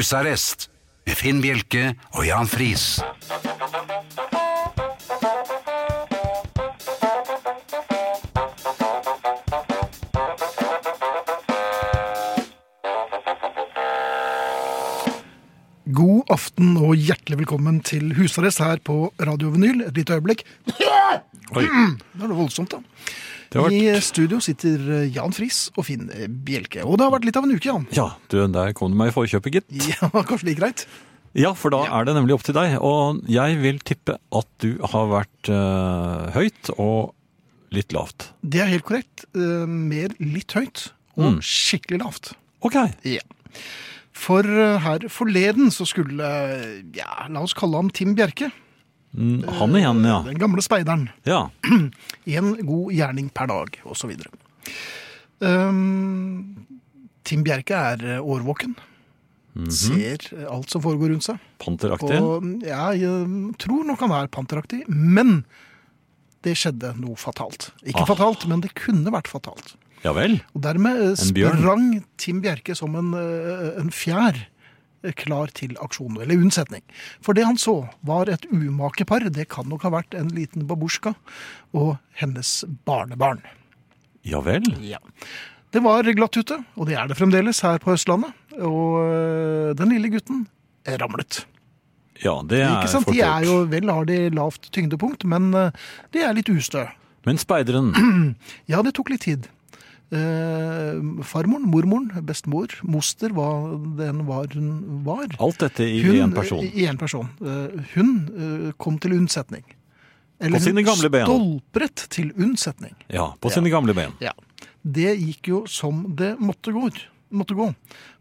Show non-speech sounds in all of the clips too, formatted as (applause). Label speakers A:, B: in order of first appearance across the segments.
A: Husarrest med Finn Bjelke og Jan Friis.
B: God aften og hjertelig velkommen til husarrest her på Radio Vinyl. Et lite øyeblikk. Det
C: Oi.
B: er noe voldsomt, da.
C: Det har
B: I
C: vært
B: studio sitter eh, Jan Friis og Finn eh, Bjelke. Og det har vært litt av en uke,
C: (laughs)
B: Jan.
C: Ja, du, der kom du meg i forkjøpet, gitt.
B: Ja, kanskje det gikk greit.
C: Ja, for da er det nemlig opp til deg. Og jeg vil tippe at du har vært eh, høyt og litt lavt.
B: Det er helt korrekt. Eh, Mer litt høyt og
C: Mm.
B: skikkelig lavt.
C: Ok.
B: Ja. For eh, her forleden så skulle, eh, ja, la oss kalle ham Tim Bjerke,
C: Mm, Han igjen, ja.
B: den gamle speideren.
C: Ja.
B: Én god gjerning per dag, osv. Um, Tim Bjerke er eh, årvåken. Ser eh, alt som foregår rundt seg.
C: Panteraktig.
B: Og ja, jeg mm, tror nok han er panteraktig, men det skjedde noe fatalt. Ikke
C: Ah.
B: fatalt, men det kunne vært fatalt.
C: Ja vel.
B: Og dermed eh,
C: En bjørn.
B: sprang Tim Bjerke som en, eh, en fjær eh, klar til aksjon, eller unnsetning. For det han så var et umakepar, det kan nok ha vært en liten babusjka og hennes barnebarn.
C: Ja vel.
B: Det var glatt ute, og det er det fremdeles her på Østlandet. Og eh, den lille gutten ramlet.
C: Ja, det
B: Ikke
C: er
B: sant? De er jo
C: fortalt.
B: vel har de lavt tyngdepunkt, men eh, de er litt ustø.
C: Men speideren
B: Ja, det tok litt tid. Eh, farmoren, mormoren, bestemor, moster, hva den var hun var.
C: Alt dette i
B: Hun,
C: én person.
B: I en person. Eh, hun eh, kom til unnsetning. Eller
C: På sine gamle ben.
B: hun stolpret til unnsetning.
C: Ja, på sine gamle ben.
B: Ja. Det gikk jo som det måtte gå. Måtte gå.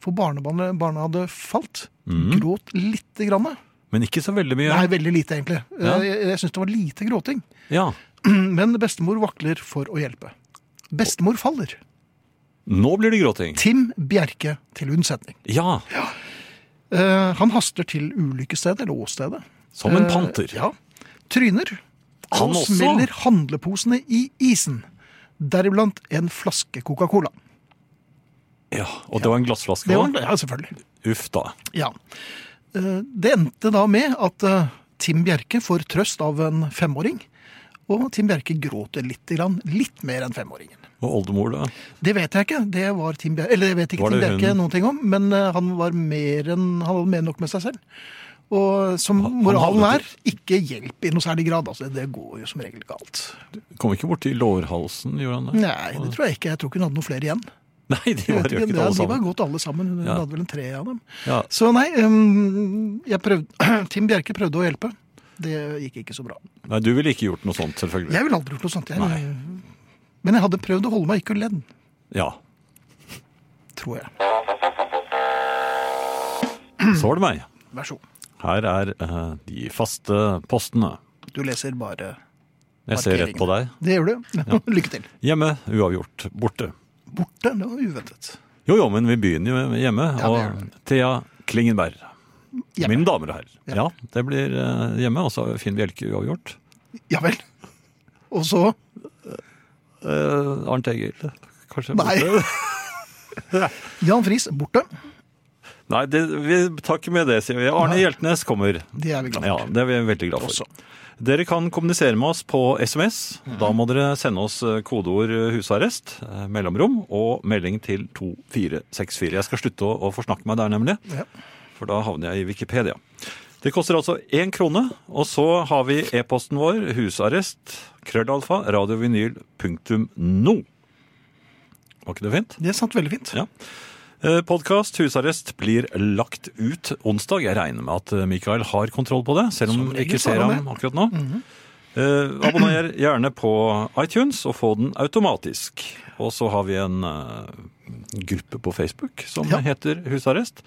B: For barnebarnet barna hadde falt.
C: Mhm.
B: Gråt lite grann.
C: Men ikke så veldig mye.
B: Nei, veldig lite, egentlig.
C: Ja.
B: Eh, Jeg, jeg syns det var lite gråting. (clears throat)
C: Ja.
B: Men bestemor vakler for å hjelpe. Bestemor faller.
C: Nå blir det gråting.
B: Tim Bjerke til unnsetning.
C: Ja.
B: Eh, han haster til ulykkesstedet, eller åstedet.
C: Som en
B: Eh,
C: panter.
B: ja. Tryner.
C: Han
B: og
C: også?
B: smeller handleposene i isen. Deriblant en flaske Coca-Cola.
C: Ja, Og det var en glassflaske
B: Det var
C: òg?
B: ja, selvfølgelig.
C: Uff da.
B: Ja. Eh, Det endte da med at eh, Tim Bjerke får trøst av en femåring. Og Tim Bjerke gråter litt, grann, litt mer enn femåringen.
C: Og oldemor, da?
B: Det vet jeg ikke. Det var Tim Bjerke, eller det vet ikke
C: Var
B: Tim
C: det
B: Bjerke
C: hun?
B: noen ting om, men eh, han var mer enn, han hadde mer enn nok med seg selv. Og som
C: Han- han
B: moralen
C: hadde
B: er, ikke hjelp i noe særlig grad. Altså, det går jo som regel galt.
C: Kom ikke borti lårhalsen, gjorde han det?
B: Nei, det tror jeg ikke. Jeg tror ikke hun hadde noen flere igjen.
C: (laughs) Nei, de
B: Jeg
C: var
B: vet ikke,
C: røket
B: det-
C: alle
B: de var
C: sammen.
B: gått alle sammen. Hun hun
C: Ja.
B: hadde vel en tre av dem.
C: Ja.
B: Så nei, um, jeg prøvde, (clears throat) Tim Bjerke prøvde å hjelpe. Det gikk ikke så bra.
C: Nei, du ville ikke gjort noe sånt, selvfølgelig.
B: Jeg ville aldri gjort noe sånt. Jeg,
C: Nei.
B: Men jeg hadde prøvd å holde meg ikke og ledd,
C: Ja.
B: tror jeg.
C: Så var det meg.
B: Vær så god.
C: Her er eh, de faste postene.
B: Du leser bare
C: Jeg ser rett på deg.
B: Det gjør du. (laughs) Lykke til.
C: Hjemme, uavgjort. Borte.
B: Borte, det var uventet.
C: Jo, jo, men vi begynner jo hjemme.
B: Ja, det gjør
C: og Thea Klingenberg.
B: Hjemme.
C: Mine damer og herrer.
B: Ja.
C: Ja. det blir eh, hjemme. Og så Finn Bjelke uavgjort.
B: Ja vel. Og så
C: Eh, Arnt Egil, kanskje?
B: Nei.
C: (laughs)
B: Jan Friis, borte.
C: Nei, det, vi tar ikke med det, sier vi. Arne Hjeltnes kommer.
B: Det er vi glad
C: Ja,
B: for.
C: det er vi veldig glad for. Dere kan kommunisere med oss på SMS. Da må dere sende oss eh, kodeord eh, 'husarrest', eh, mellomrom, og melding til 2464. Jeg skal slutte å, å forsnakke meg der, nemlig.
B: Ja.
C: For da havner jeg i Wikipedia. Det koster altså én krone. Og så har vi e-posten vår, husarrest, krøllalfa, radiovinyl.no. Var ikke det fint?
B: Det satt veldig fint.
C: Ja. Podkast Eh, Husarrest blir lagt ut onsdag. Jeg regner med at eh, Mikael har kontroll på det, selv om
B: Som
C: vi
B: regel
C: ikke
B: så
C: ser
B: har han Mhm.
C: ham akkurat nå. Eh, abonner gjerne på iTunes og få den automatisk. Og så har vi en eh, gruppe på Facebook som
B: Ja.
C: heter Husarrest.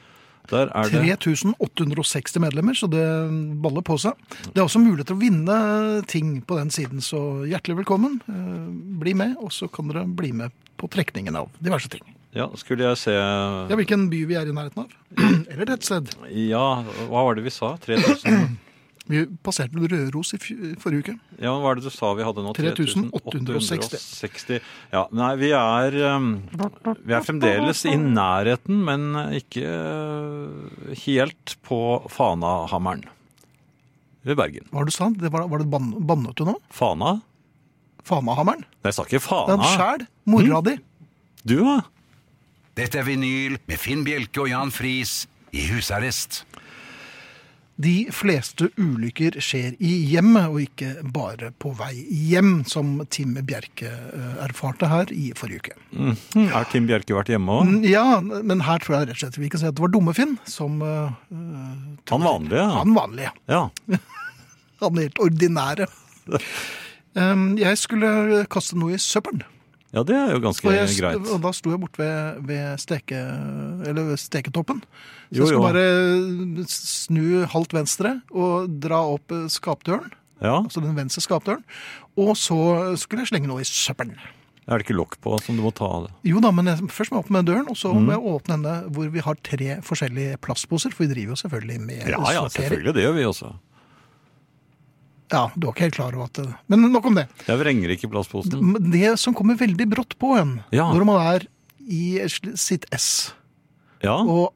C: Der er det
B: 3860 medlemmer, så det baller på seg. Det er også mulighet til å vinne ting på den siden, så hjertelig velkommen. Eh, Bli med, og så kan dere bli med på trekningen av diverse ting.
C: Ja, skulle jeg se
B: Ja, Hvilken by vi er i nærheten av. (clears throat) Eller et sted.
C: Ja, hva var det vi sa? 3000
B: Vi passerte vel Røros i fj- forrige uke.
C: Ja, hva er det du sa vi hadde nå?
B: 3860.
C: Ja, nei, vi ehm, er um, Vi er fremdeles i nærheten, men ikke uh, helt på Fanahammeren ved Bergen.
B: Hva var det du sa? Det var, var det ban bannet du nå?
C: Fana?
B: Fanahammeren?
C: Nei, jeg sa ikke
B: Den
C: Fana.
B: sjæl,
C: Mm.
B: mora di.
C: Du, da?
A: Dette er vinyl med Finn Bjelke og Jan Friis i husarrest.
B: De fleste ulykker skjer i hjemmet, og ikke bare på vei hjem, som Tim Bjerke eh, erfarte her i forrige uke.
C: Mm, Er Tim Bjerke vært hjemme òg?
B: Ja, men her tror jeg rett og slett vi kan si at det var dumme Finn som eh,
C: Han vanlige? ja.
B: han vanlige.
C: Ja.
B: Han helt ordinære. Em, Jeg skulle kaste noe i søppelen.
C: ja, det er jo
B: Og,
C: ganske
B: jeg, st-
C: greit.
B: og da sto jeg borte ved, ved steke, eller ved steketoppen. Så
C: Jo,
B: jeg skulle
C: jo.
B: bare snu halvt venstre og dra opp eh, skapdøren.
C: Ja,
B: Altså den venstre skapdøren. Og så skulle jeg slenge noe i søppelen.
C: Er det ikke lokk på som du må ta av det?
B: Jo da, men jeg, først må jeg åpne døren, og så
C: Mm.
B: må jeg åpne denne hvor vi har tre forskjellige plastposer. For vi driver jo selvfølgelig med
C: Ja, ja,
B: sortering.
C: selvfølgelig. Det gjør vi også.
B: Ja, du var ikke helt klar over at det- Men nok om det.
C: Jeg vrenger ikke plastposen.
B: Men Det som kommer veldig brått på en
C: Mm. Ja.
B: når man er i sl- sitt ess,
C: Ja,
B: og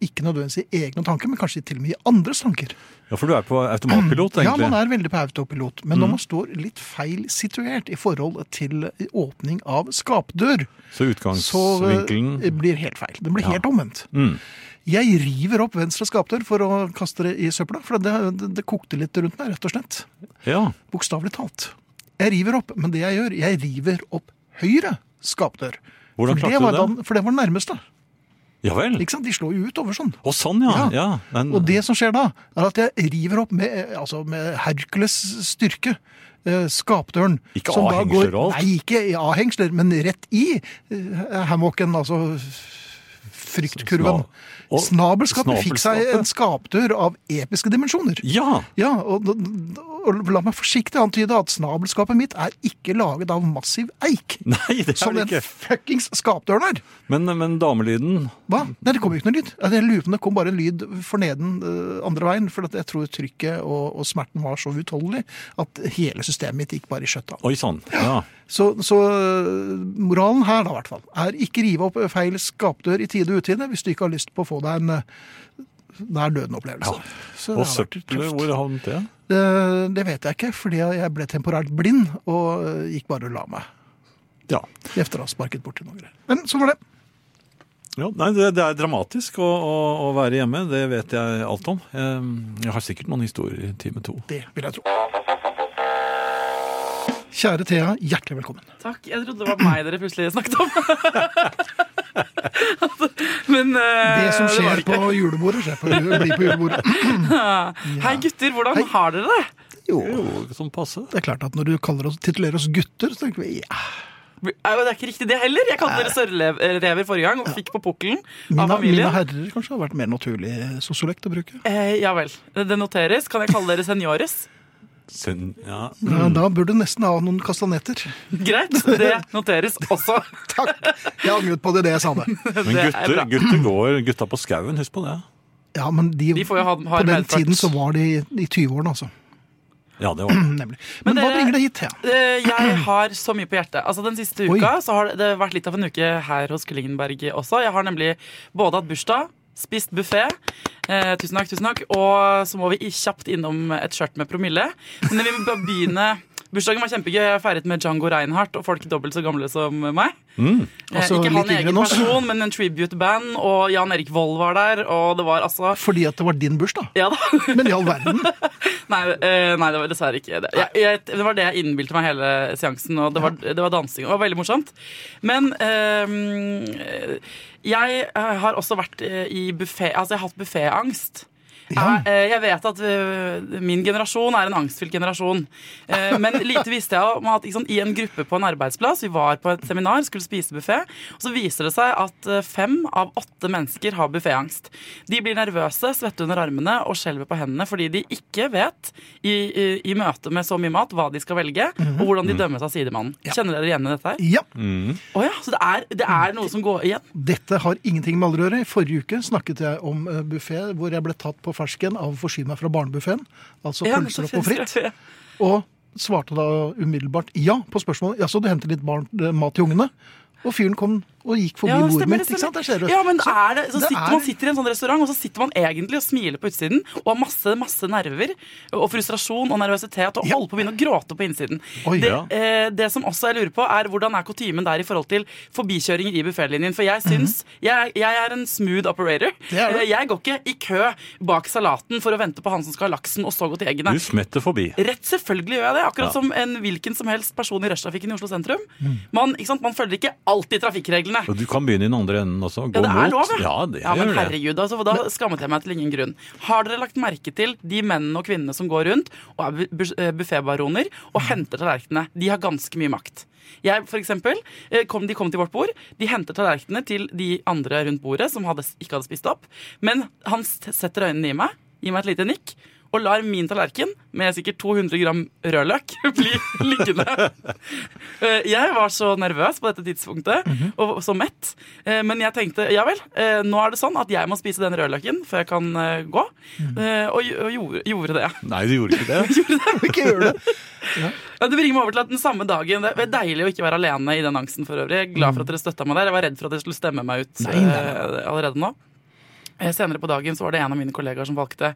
B: ikke nødvendigvis i egne tanker, men kanskje til og med i andres tanker.
C: ja for du er på automatpilot,
B: Ja, man
C: egentlig.
B: er veldig på autopilot, men
C: Mm.
B: når man står litt feil situert i forhold til åpning av skapdør,
C: Så
B: så
C: utgangsvinkelen
B: eh, blir helt feil. Det blir helt omvendt.
C: mm.
B: Jeg river opp venstre skapdør for å kaste det i søpla, for det, det, det kokte litt rundt meg, rett og slett.
C: Ja.
B: Bokstavelig talt. Jeg river opp, men det jeg gjør, jeg river opp høyre skapdør.
C: Hvordan
B: for
C: klarte du
B: var
C: det?
B: den- for det var den nærmeste.
C: ja vel.
B: Ikke sant? De slår jo ut over sånn.
C: Å, sånn,
B: Ja.
C: ja. ja. Men,
B: Og det som skjer da, er at jeg river opp med, eh, altså med Hercules styrke eh, skapdøren.
C: Ikke
B: som da
C: avhengsler
B: går-
C: og alt?
B: Nei, ikke i avhengsler, men rett i eh, hammocken, altså fryktkurven.
C: Sna- og-
B: Snabelskapet fikk seg
C: snabelskapet.
B: en skapdør av episke dimensjoner.
C: Ja! (laughs)
B: Ja, og, og la meg forsiktig antyde at snabelskapet mitt er ikke laget av massiv eik.
C: Nei, det er
B: Som
C: det
B: den
C: ikke.
B: fuckings skapdøren er.
C: Men, men damelyden
B: Hva? Nei, det kom jo ikke noe lyd. Altså, Jeg lurer på om det kom bare en lyd forneden eh, andre veien, for at jeg tror trykket og, og smerten var så utholdelig at hele systemet mitt gikk bare i skjøtta.
C: Oi sann. Ja.
B: Så, så eh, moralen her, da, i hvert fall, er ikke rive opp feil skapdør i tide og utide hvis du ikke har lyst på å få deg en eh, nær døden-opplevelse. Så det
C: Og
B: har vært
C: søppelet,
B: tøft.
C: hvor havnet det?
B: Eh, Det vet jeg ikke, fordi jeg ble temporært blind og eh, gikk bare og la meg.
C: Ja.
B: Efter å ha sparket borti noen greier. Men så var det.
C: Ja, nei, det, det er dramatisk å, å, å være hjemme, det vet jeg alt om. Eh, Jeg har sikkert noen historier i time to.
B: Det vil jeg tro. Kjære Thea, hjertelig velkommen.
D: Takk. Jeg trodde det var meg dere plutselig snakket om. (laughs) Men eh,
B: Det som
D: det var
B: skjer
D: det
B: på julebordet, skjer på, blir
D: (laughs)
B: på julebordet.
D: ikke. Hei, gutter. Hvordan har dere det?
B: Jo.
C: Jo, som passe.
B: Det er klart at når du kaller oss, titulerer oss gutter, så tenker vi ja,
D: Au, Det er ikke riktig, det heller. Jeg kalte dere sørrever forrige gang og fikk på pukkelen av
B: mine, mine
D: familien.
B: herrer kanskje har vært mer naturlig sosiolekt å bruke.
D: Eh, ja vel. Det noteres. Kan jeg kalle dere seniores?
C: Synd. Ja.
B: Ja,
D: Mm.
B: da burde du nesten ha noen kastanetter.
D: (laughs) Greit. Det noteres også.
B: Takk! Jeg angret på det, det jeg sa det.
C: Men
D: Det er
C: gutter,
D: bra.
C: gutter går Gutta på skauen, husk på det.
B: Ja, men de,
D: De får jo ha, ha
B: på den
D: medfart.
B: tiden så var de i- i 20-årene, altså.
C: Ja, det var
B: Nemlig. Men, hva
D: dere-
B: bringer deg hit, Thea?
D: Eh, Jeg har så mye på hjertet. Altså Den siste
B: Oi.
D: uka så har det- det vært litt av en uke her hos Klingenberg også. Jeg har nemlig både hatt bursdag, spist buffé, eh, tusen takk, tusen takk, og så må vi i- kjapt innom et skjørt med promille. Men vi må bare begynne Bursdagen var kjempegøy. Jeg feiret med Django Reinhardt og folk dobbelt så gamle som meg. Eh,
B: Altså,
D: Ikke
B: litt
D: han
B: yngre
D: i egen
B: enn oss.
D: person, men en tribute-band, og Jan Erik Vold var der, og det var altså
B: Fordi at det var din bursdag.
D: Ja da.
B: Men i all verden.
D: (laughs) Nei, eh, nei, det var dessverre ikke det. Jeg, jeg, det var det jeg innbilte meg hele seansen, og det var, det var dansing. og Det var veldig morsomt. Men eh, jeg eh, har også vært eh, i buffé Altså, jeg har hatt bufféangst.
B: Ja.
D: Jeg, eh, jeg vet at eh, min generasjon er en angstfylt generasjon. Eh,
B: (laughs)
D: Men lite visste jeg om at ikke sant, i en gruppe på en arbeidsplass Vi var på et seminar, skulle spise buffé. Og så viser det seg at eh, fem av åtte mennesker har bufféangst. De blir nervøse, svette under armene og skjelver på hendene fordi de ikke vet i, i, i møte med så mye mat hva de skal velge,
B: Mhm.
D: og hvordan
B: Mm.
D: de dømmes av sidemannen. Kjenner dere igjen i dette? her?
B: Ja.
D: Å ja, så det er, det er noe som går igjen?
B: Dette har ingenting med alder å gjøre. I forrige uke snakket jeg om eh, buffé hvor jeg ble tatt på fersken av å forsyne meg fra barnebuffeen. Altså
D: Ja,
B: pølser og
D: så
B: pommes frites.
D: finnes det-
B: Og svarte da umiddelbart ja på spørsmålet. Ja, så du henter litt barn, eh, mat til ungene? Og fyren kom og gikk forbi
D: Ja, det
B: bordet
D: stemmer,
B: mitt.
D: det
B: ikke sant? Der ser
D: stemmer.
B: du.
D: Ja, men
B: Så
D: er det, så
B: det
D: sitter,
B: er-
D: Man sitter i en sånn restaurant og så sitter man egentlig og smiler på utsiden og har masse masse nerver og frustrasjon og nervøsitet og
B: Ja.
D: holder på å begynne å gråte på innsiden.
B: Oi,
D: det,
C: ja.
D: eh, det som også jeg lurer på, er hvordan er kutymen der i forhold til forbikjøringer i buffélinjen? For jeg syns jeg, jeg er en smooth operator.
B: Mhm. Det er du.
D: Eh, Jeg går ikke i kø bak salaten for å vente på han som skal ha laksen og så gå til eggene.
C: Du smetter forbi.
D: Rett selvfølgelig gjør jeg det, akkurat
C: Ja.
D: som en hvilken som helst person i rushtrafikken i Oslo sentrum.
B: Mhm.
D: Man, ikke sant? man følger ikke alltid trafikkreglene.
C: Og du kan begynne i den andre enden også. Gå
D: Ja, det
C: mot.
D: er lov,
C: ja. det
D: ja, men
C: gjør det.
D: herregud, altså, for da skammet jeg meg til ingen grunn. Har dere lagt merke til de mennene og kvinnene som går rundt og er bu- bus- eh, buffetbaroner
C: Mm.
D: og henter tallerkenene? De har ganske mye makt. Jeg, for eksempel, eh, kom, de kom til vårt bord, de henter tallerkenene til de andre rundt bordet som hadde, ikke hadde spist opp, men han s- setter øynene i meg, gir meg et lite nikk, og lar min tallerken, med sikkert 200 gram rødløk, (laughs) bli liggende. Eh, Jeg var så nervøs på dette tidspunktet,
B: Mhm.
D: og så mett. Eh, Men jeg tenkte ja vel, eh, nå er det sånn at jeg må spise den rødløken før jeg kan eh, gå.
B: Mhm.
D: Eh, Og gj- og gjorde, gjorde det.
C: Nei, du gjorde ikke det.
B: Ikke gjør
D: (laughs)
B: det.
D: Ja, det bringer meg over til at den samme dagen Det var deilig å ikke være alene i den angsten for øvrig. Jeg er glad for at dere støtta meg der. Jeg var redd for at dere skulle stemme meg ut
B: Nei, nei, nei.
D: eh, allerede nå. Eh, Senere på dagen så var det en av mine kollegaer som valgte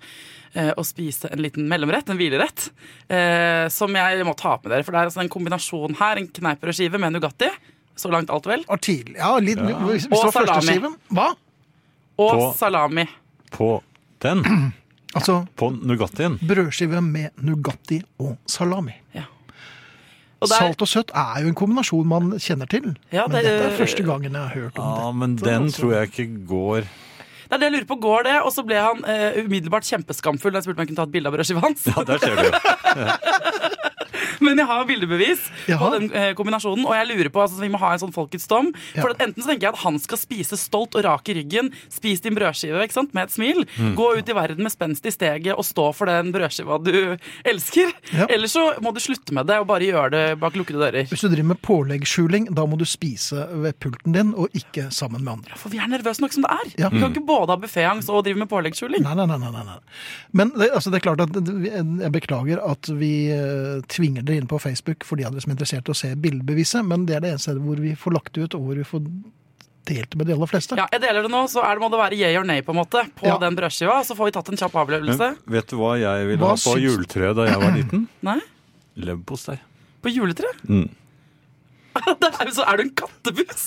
D: eh, å spise en liten mellomrett, en hvilerett, eh, som jeg må ta opp med dere. For det er altså en kombinasjon her, en kneiperødskive med Nugatti. Så langt alt vel.
B: Artil. Ja, litt, Hvis det
D: Og
B: var
D: salami.
B: førsteskiven Hva?
D: Og
C: På-
D: salami.
C: På den,
B: Altså
C: på Nugattien.
B: brødskive med Nugatti og salami.
D: Ja. Og der-
B: Salt og søtt er jo en kombinasjon man kjenner til.
D: Ja,
B: men
D: det-
B: dette er første gangen jeg har hørt om
C: Ja,
B: det.
C: men den tror jeg ikke går
D: Det er det jeg lurer på, går det? Og så ble han eh, umiddelbart kjempeskamfull da jeg spurte om jeg kunne ta et bilde av brødskiva hans.
C: Ja,
B: (laughs)
C: der ser du jo.
D: (laughs) Men jeg har bildebevis på
B: Jaha.
D: den eh, kombinasjonen, og jeg lurer på, altså, vi må ha en sånn folkets dom. For
B: Ja.
D: at enten så tenker jeg at han skal spise stolt og rak i ryggen, spis din brødskive ikke sant, med et smil,
B: Mm.
D: gå ut i verden med spenst i steget og stå for den brødskiva du elsker.
B: Ja.
D: Eller så må du slutte med det og bare gjøre det bak lukkede dører.
B: Hvis du driver med påleggsskjuling, da må du spise ved pulten din, og ikke sammen med andre.
D: For vi er nervøse nok som det er.
B: Ja. Mm.
D: Vi kan ikke både ha bufféangst og drive med påleggsskjuling.
B: Nei, nei, nei. nei, nei, nei. Men det, altså, det er klart at det- jeg beklager at vi eh, tvinger dere inn på Facebook for de av dere som er interessert i å se bildebeviset, men det er det eneste stedet hvor vi får lagt det ut, og hvor vi får delt det med de aller fleste.
D: (laughs) Ja, jeg deler det nå, så er det, må det være yeah or nay på en måte på
B: Ja.
D: den brødskiva. Og så får vi tatt en kjapp avlevelse.
C: Men Vet du hva jeg ville
B: Hva
C: ha på
B: syns-
C: juletreet da
B: (clears throat)
C: jeg var liten?
D: Nei?
C: Leverpostei.
D: På juletre? (laughs)
C: Mm.
D: Der er, jo- så er du en kattepus!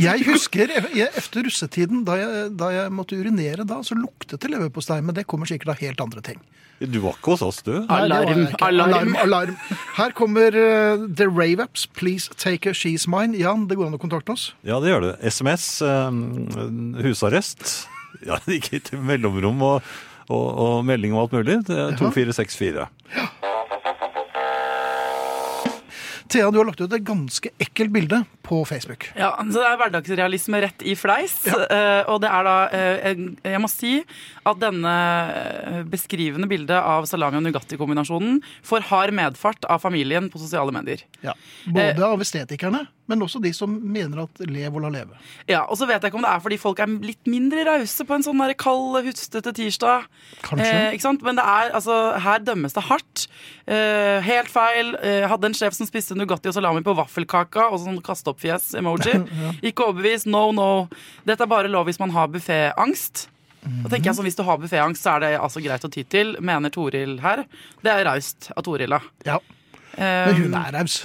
B: Jeg husker e- jeg, efter russetiden, da jeg, da jeg måtte urinere da, så luktet det leverpostei, men det kommer sikkert av helt andre ting.
C: Du var ikke hos oss, du.
B: Nei, det var jeg
D: Alarm,
B: ikke.
D: alarm.
B: alarm, alarm. Her kommer eh, The Rave-Ups, Please Take a She's Mine. Jan, det går an å kontakte oss.
C: Ja, det gjør du. SMS, eh, husarrest. Ja, det gikk til mellomrom og, og, og melding og alt mulig. Det er 2464.
B: Thea, du har lagt ut et ganske ekkelt bilde på Facebook.
D: Ja, så Det er hverdagsrealisme rett i fleis. eh, og det er da eh, en- Jeg må si at denne eh, beskrivende bildet av salami- og Nugatti-kombinasjonen får hard medfart av familien på sosiale medier.
B: Ja. Både
D: Eh,
B: av estetikerne, men også de som mener at lev og la leve.
D: Ja, Og så vet jeg ikke om det er fordi folk er litt mindre rause på en sånn der kald, hustete tirsdag.
B: Kanskje.
D: Eh, ikke sant? Men det er, altså, her dømmes det hardt. Eh, helt feil. Eh, hadde en sjef som spiste Nugatti og salami på vaffelkaka og
B: (laughs)
D: sånn kaste-opp-fjes-emoji. Ikke overbevist. No, no. Dette er bare lov hvis man har bufféangst. Da tenker jeg sånn, Hvis du har bufféangst, så er det altså greit å ty til, mener Toril her. Det er raust av Toril, da.
B: Ja, men
D: Um,
B: hun er raus.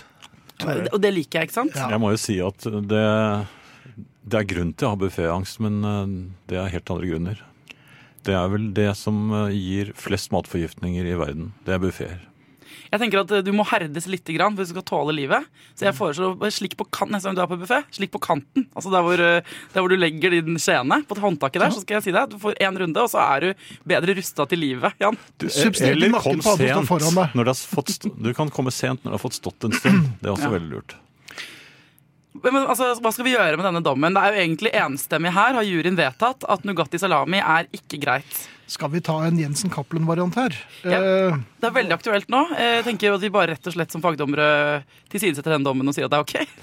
D: Eh, Og det liker jeg, ikke sant?
B: Ja.
C: Jeg må jo si at det, det er grunn til å ha bufféangst, men eh, det er helt andre grunner. Det er vel det som eh, gir flest matforgiftninger i verden. Det er buffeer.
D: Jeg tenker at eh, Du må herdes litt grann hvis du skal tåle livet. Så jeg foreslår å bare slikk på kanten neste gang du er på buffé. Slikk på kanten. Altså der hvor, eh, der hvor du legger din skjene på håndtaket der, så skal jeg si deg. Du får én runde, og så er du bedre rusta til livet. Jan.
C: Du,
B: Substitutt
C: Eh, eller
B: nakken
C: kom
B: på alle som
C: sent
B: står foran deg.
C: når du, har fått st du kan komme sent når du har fått stått en stund. Det er også
D: Ja.
C: veldig lurt.
D: Men men, altså, hva skal vi gjøre med denne dommen? Det er jo egentlig enstemmig her. Har juryen vedtatt at Nugatti salami er ikke greit?
B: Skal vi ta en Jensen-Cappelen-variant her?
D: Ja.
B: Eh,
D: Det er veldig aktuelt nå. Eh, Jeg tenker at vi bare rett og slett som fagdommere tilsidesetter denne dommen og sier at det er ok.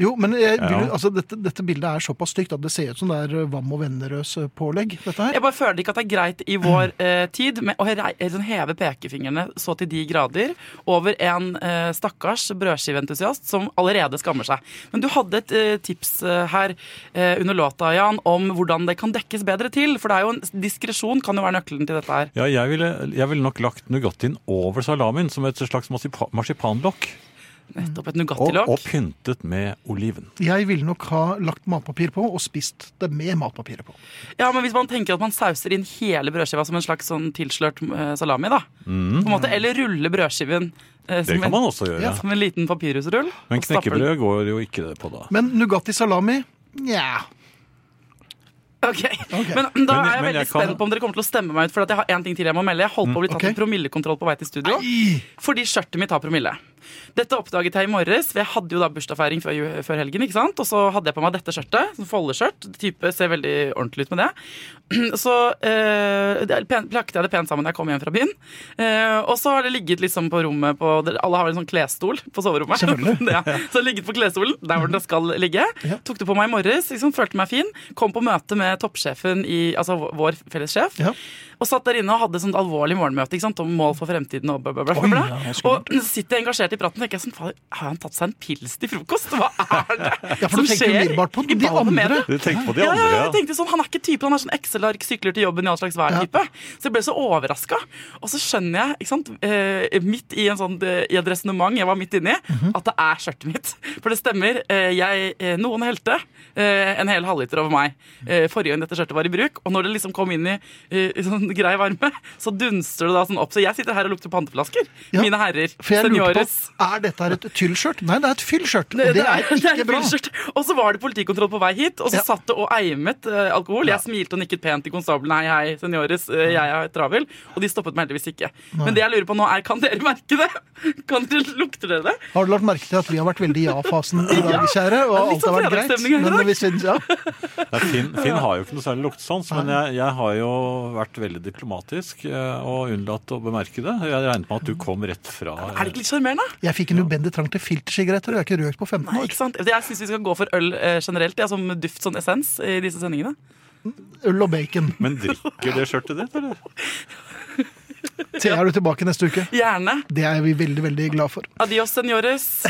B: Jo, men jeg, vil,
C: Ja.
B: altså, dette, dette bildet er såpass stygt at det ser ut som det er Vam og Vennerøs-pålegg. dette her.
D: Jeg bare føler ikke at det er greit i vår eh, tid med å rei- eh, sånn heve pekefingrene så til de grader over en eh, stakkars brødskiveentusiast som allerede skammer seg. Men du hadde et eh, tips eh, her eh, under låta, Jan, om hvordan det kan dekkes bedre til. For det er jo en diskresjon kan jo være nøkkelen til dette her.
C: Ja, jeg ville, jeg ville nok lagt Nugattien over salamien som et slags marsipa- marsipanlokk.
D: Nettopp et
C: Og, og
D: Nugatti-lokk.
C: pyntet med oliven.
B: Jeg ville nok ha lagt matpapir på og spist det med matpapiret på.
D: Ja, men hvis man tenker at man sauser inn hele brødskiva som en slags sånn tilslørt eh, salami, da. På en måte, eller ruller brødskiven eh,
C: Mm. Det
D: som,
C: kan man
D: en,
C: også
B: Ja.
C: gjøre.
D: som en liten papyrusrull.
C: Men
D: og stapper den.
C: knekkebrød går jo ikke det på da.
B: Men Nugatti salami? Nja.
D: Ok,
B: Ok.
D: Men
C: Men-
D: da er jeg
C: men
D: veldig
C: jeg kan-
D: spent på om dere kommer til å stemme meg ut. For at jeg har en ting til jeg må melde Jeg holdt på å bli tatt
B: ok.
D: i promillekontroll på vei til studio. Fordi skjørtet mitt har promille. Dette oppdaget jeg i morges. for Jeg hadde jo da bursdagsfeiring før, ju- før helgen. ikke sant? Og så hadde jeg på meg dette skjørtet. sånn Foldeskjørt. Type ser veldig ordentlig ut med det. (clears throat) Så eh, det- pen- plakket jeg det pent sammen da jeg kom hjem fra byen. Eh, og så har det ligget liksom på rommet på dere- Alle har vel en sånn klesstol på soverommet.
B: Selvfølgelig.
D: ja. Så (laughs) det har ligget på klesstolen, der hvor den skal ligge.
B: Ja.
D: Tok det på meg i morges, liksom, følte meg fin. Kom på møte med toppsjefen i Altså vår- vår felles sjef.
B: Ja.
D: Og satt der inne og hadde sånt alvorlig morgenmøte ikke sant? om mål for fremtiden. Og, bla, bla, bla, bla, bla.
B: ja,
D: og sitter jeg engasjert i praten og tenker jeg sånn, fader, har han tatt seg en pils til frokost? Hva er det
B: Ja, for
D: som
B: du tenker
D: skjer
B: umiddelbart på
D: i
B: de
D: ball med
B: andre.
D: det?
C: Du tenkte på de
D: Ja, ja,
C: andre,
D: ja, jeg
C: ja.
D: tenkte sånn, Han er ikke typen, han er sånn Excel-ark, sykler til jobben i all slags
B: Ja.
D: vær-type. Så jeg ble så overraska. Og så skjønner jeg, ikke sant, eh, midt i, en sånn, eh, i et resonnement jeg var midt inni,
B: Mhm.
D: at det er skjørtet mitt. For det stemmer. eh, Jeg, eh, noen helte eh, en hel halvliter over meg eh, forrige gang dette skjørtet var i bruk. Og når det liksom kom inn i eh, sånn grei varme, (laughs) så dunster det da sånn opp. Så jeg sitter her og lukter panteflasker.
B: Ja,
D: Mine herrer.
B: For jeg lurte
D: Senores.
B: på, Er dette her et tyllskjørt? Nei, det er et fyllskjørt.
D: Det,
B: Og det er
D: det
B: ikke
D: et
B: bra.
D: fyllskjørt. Og så var det politikontroll på vei hit, og så
B: Ja.
D: satt det og eimet eh, alkohol. Jeg smilte og nikket pent til konstabelen. Hei, hei, seniores, eh, jeg er travel. Og de stoppet meg heldigvis ikke. Men det jeg lurer på nå er, kan dere merke det? Kan dere lukter dere det?
B: Har du lagt merke til at vi har vært veldig i ja-fasen i
D: (laughs)
B: dag, kjære? Og
D: det er
B: alt
D: litt
B: har
D: sånn
B: vært greit.
D: fredagsstemning her i
B: Men
D: dag.
B: vi synes, ja.
C: Nei, Finn, Finn har jo ikke noe særlig luktesans, men jeg, jeg har jo vært veldig diplomatisk eh, og unnlatt å bemerke det. Jeg regnet med at du kom rett fra
D: Er det ikke litt sjarmerende?
B: Jeg fikk en ubendig trang til filtersigaretter, og jeg har ikke røkt på 15
D: Nei,
B: år.
D: ikke sant? Jeg syns vi skal gå for øl eh, generelt, ja, som duft, sånn essens, i disse sendingene.
B: Øl og
D: (laughs)
B: bacon.
C: Men drikker det skjørtet ditt, eller?
B: Se, er du tilbake neste uke?
D: Gjerne.
B: Det er vi veldig, veldig glad for. (laughs)
D: Adios, seniores.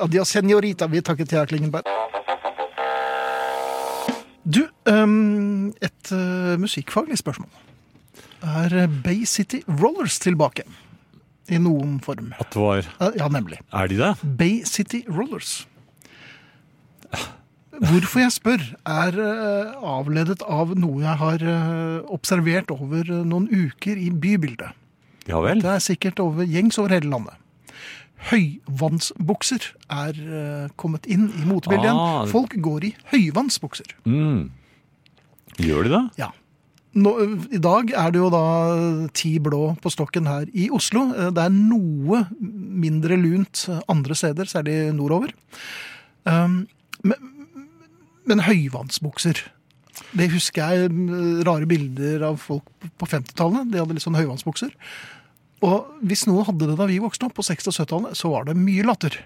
B: Adios, senorita. Vi takker Thea Klingenberg. Du, øhm, et øh, musikkfaglig spørsmål. Er øh, Bay City Rollers tilbake? I noen form.
C: At det var
B: Ja, Ja, nemlig.
C: Er de det?
B: Bay City Rollers. Hvorfor jeg spør, er øh, avledet av noe jeg har øh, observert over øh, noen uker i bybildet.
C: Ja vel?
B: Det er sikkert over gjengs over hele landet. Høyvannsbukser er eh, kommet inn i motebildet igjen.
C: Ah.
B: Folk går i høyvannsbukser.
C: Mm. Gjør de det?
B: Ja. Nå, ø, I dag er det jo da ti blå på stokken her i Oslo. Eh, Det er noe mindre lunt andre steder, særlig nordover. Um, men, men høyvannsbukser Det husker jeg mm, rare bilder av folk på 50-tallet. De hadde litt sånn høyvannsbukser. Og hvis noen hadde det da vi vokste opp, på 60- og 70-tallet, så var det mye latter.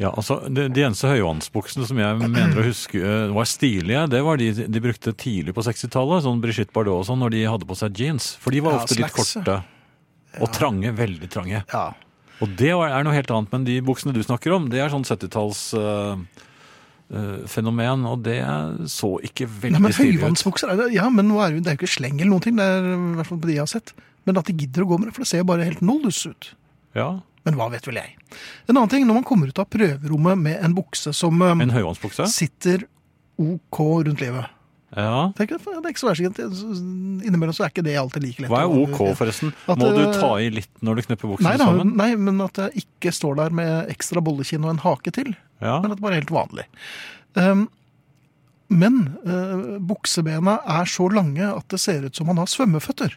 C: Ja, altså, De, de eneste høyvannsbuksene som jeg mener å huske eh, var stilige, det var de de brukte tidlig på 60-tallet, sånn Brigitte Bardot og sånn, når de hadde på seg jeans. For de var
B: Ja,
C: ofte litt
B: slacks.
C: korte. Og trange, veldig trange.
B: Ja.
C: Og det var- er noe helt annet, men de buksene du snakker om, det er sånn 70-tallsfenomen, og det så ikke
B: Nei,
C: veldig
B: men
C: stilig ut.
B: høyvannsbukser er det, ja, men nå er det, jo, det er jo ikke sleng eller noen ting. Det er i hvert fall på de jeg har sett. Men at de gidder å gå med det, for det ser jo bare helt noldus ut.
C: Ja,
B: Men hva vet vel jeg. En annen ting, når man kommer ut av prøverommet med en bukse som eh,
C: En høyvannsbukse?
B: sitter OK rundt livet
C: Ja.
B: Tenk, at, eh, Det er ikke så værsigent. Innimellom så er ikke det alltid like lett.
C: Hva er
B: å-
C: OK, forresten?
B: At,
C: Må du
B: eh,
C: ta i litt når du knepper
B: Nei,
C: buksene
B: da,
C: sammen?
B: nei, men at jeg ikke står der med ekstra bollekinn og en hake til.
C: Ja.
B: Men at det bare er helt vanlig. Um, men eh, buksebena er så lange at det ser ut som man har svømmeføtter.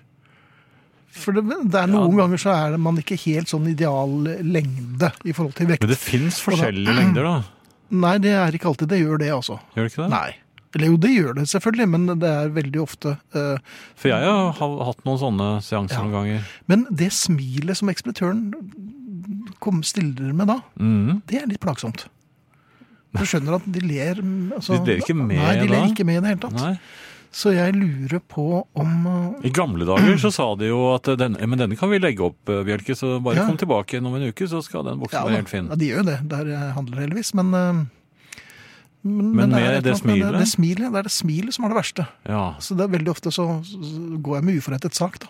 B: For det, det er noen ganger så er det man ikke helt sånn ideal lengde i forhold til vekt.
C: Men det fins forskjellige lengder, da.
B: Nei, det er ikke alltid det gjør det, altså.
C: Gjør det ikke det?
B: Nei. Eller jo, det gjør det selvfølgelig, men det er veldig ofte eh,
C: For jeg har ha- hatt noen sånne seanser
B: Ja.
C: noen ganger.
B: Men det smilet som ekspeditøren kom stiller med da,
C: Mhm.
B: det er litt plagsomt. Du skjønner at de ler mm, altså,
C: De ler ikke med
B: Nei, de ler
C: da?
B: ikke med i det hele tatt.
C: Nei.
B: Så jeg lurer på om eh,
C: I gamle dager så sa de jo at eh, denne, men denne kan vi legge opp, eh, Bjelke, så bare
B: Ja.
C: kom tilbake igjen om en uke, så skal den buksen
B: ja,
C: være
B: da.
C: helt fin.
B: Ja, de gjør jo det. Der eh, handler det heldigvis. Men, eh, men,
C: Men
B: er et
C: med det
B: eller annet med
C: smilet?
B: Det, det smilet. Det er det smilet som er det verste.
C: Ja.
B: Så det er veldig ofte så, så går jeg med uforrettet sak, da.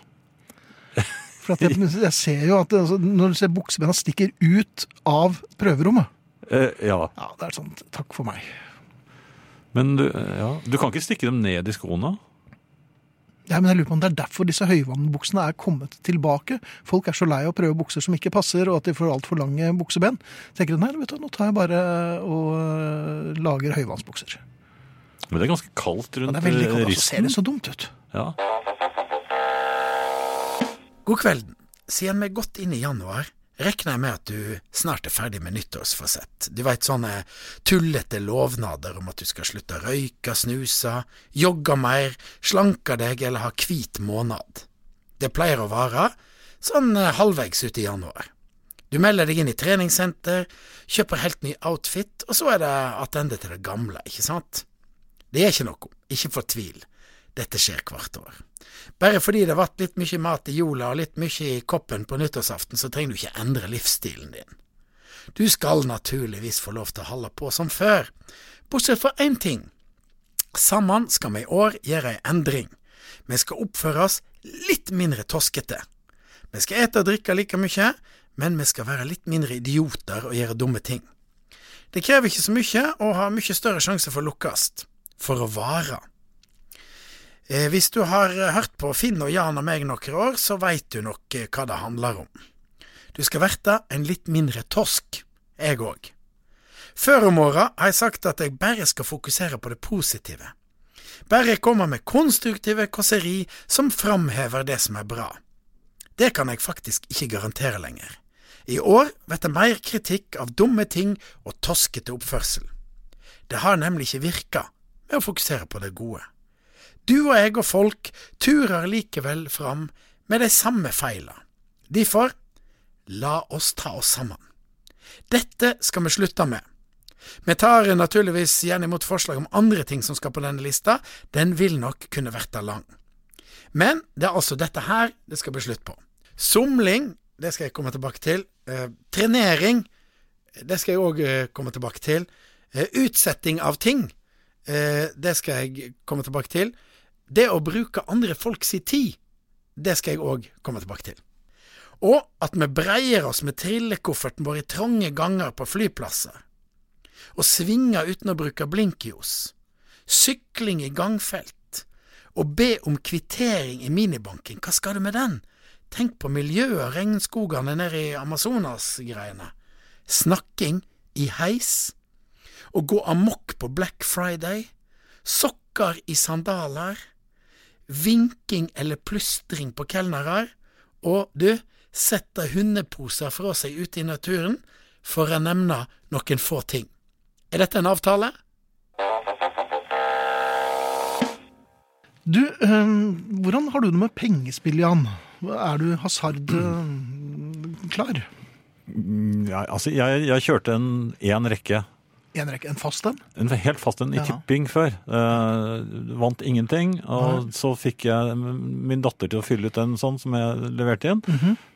B: For at jeg, jeg ser jo at det, altså, når du ser buksebena stikker ut av prøverommet
C: Eh, ja.
B: Ja, det er sånn Takk for meg.
C: Men du, eh, ja. du kan ikke stikke dem ned i skoene?
B: Ja, men jeg lurer på om Det er derfor disse høyvannbuksene er kommet tilbake. Folk er så lei av å prøve bukser som ikke passer, og at de får altfor lange bukseben. tenker de, nei, vet du, nå tar jeg bare eh, og øh, lager høyvannsbukser.
C: Men det er ganske kaldt
B: Men
C: rundt
B: det er veldig
C: eh,
B: kaldt, altså, ser
C: risten.
B: det så dumt ut.
C: Ja.
E: God kvelden. Siden vi er godt inn i januar, regner jeg med at du snart er ferdig med nyttårsforsett. Du veit sånne tullete lovnader om at du skal slutte å røyke, snuse, jogge mer, slanke deg eller ha hvit måned. Det pleier å vare sånn eh, halvveis ut i januar. Du melder deg inn i treningssenter, kjøper helt ny outfit, og så er det attende til det gamle, ikke sant? Det er ikke noe, ikke fortvil. Dette skjer hvert år. Bare fordi det vart litt mye mat i jula og litt mye i koppen på nyttårsaften, så trenger du ikke endre livsstilen din. Du skal naturligvis få lov til å holde på som før, bortsett fra én ting. Sammen skal vi i år gjøre ei endring. Vi skal oppføre oss litt mindre toskete. Vi skal ete og drikke like mye, men vi skal være litt mindre idioter og gjøre dumme ting. Det krever ikke så mye, og har mye større sjanse for å lukkes. For å vare. Eh, Hvis du har eh, hørt på Finn og Jan og meg noen år, så veit du nok eh, hva det handler om. Du skal verte en litt mindre tosk, jeg òg. Før om åra har jeg sagt at jeg bare skal fokusere på det positive. Bare jeg kommer med konstruktive kåseri som framhever det som er bra. Det kan jeg faktisk ikke garantere lenger. I år blir det mer kritikk av dumme ting og toskete oppførsel. Det har nemlig ikke virka med å fokusere på det gode. Du og jeg og folk turer likevel fram med de samme feila. Derfor, la oss ta oss sammen. Dette skal vi slutte med. Vi tar naturligvis gjerne imot forslag om andre ting som skal på denne lista, den vil nok kunne verte lang. Men det er altså dette her det skal bli slutt på. Somling, det skal jeg komme tilbake til. Eh, trenering, det skal jeg òg eh, komme tilbake til. Eh, utsetting av ting, eh, det skal jeg komme tilbake til. Det å bruke andre folk si tid, det skal jeg òg komme tilbake til. Og at vi breier oss med trillekofferten vår i trange ganger på flyplasser. Og svinger uten å bruke blinklys. Sykling i gangfelt. Og be om kvittering i minibanken, hva skal du med den? Tenk på miljøet og regnskogene nede i Amazonas-greiene. Snakking i heis. Å gå amok på Black Friday sokker i sandaler, vinking eller plystring på kelnere, og du, setter hundeposer fra seg ute i naturen, for å nevne noen få ting. Er dette en avtale?
B: Du, øh, hvordan har du det med pengespill, Jan? Er du hasard øh, klar?
C: Ja, altså, jeg, jeg kjørte en, en rekke.
B: En rekke, en fast en?
C: En helt fast en i
B: Ja.
C: tipping før. Eh, vant ingenting. Og så fikk jeg min datter til å fylle ut en sånn som jeg leverte inn.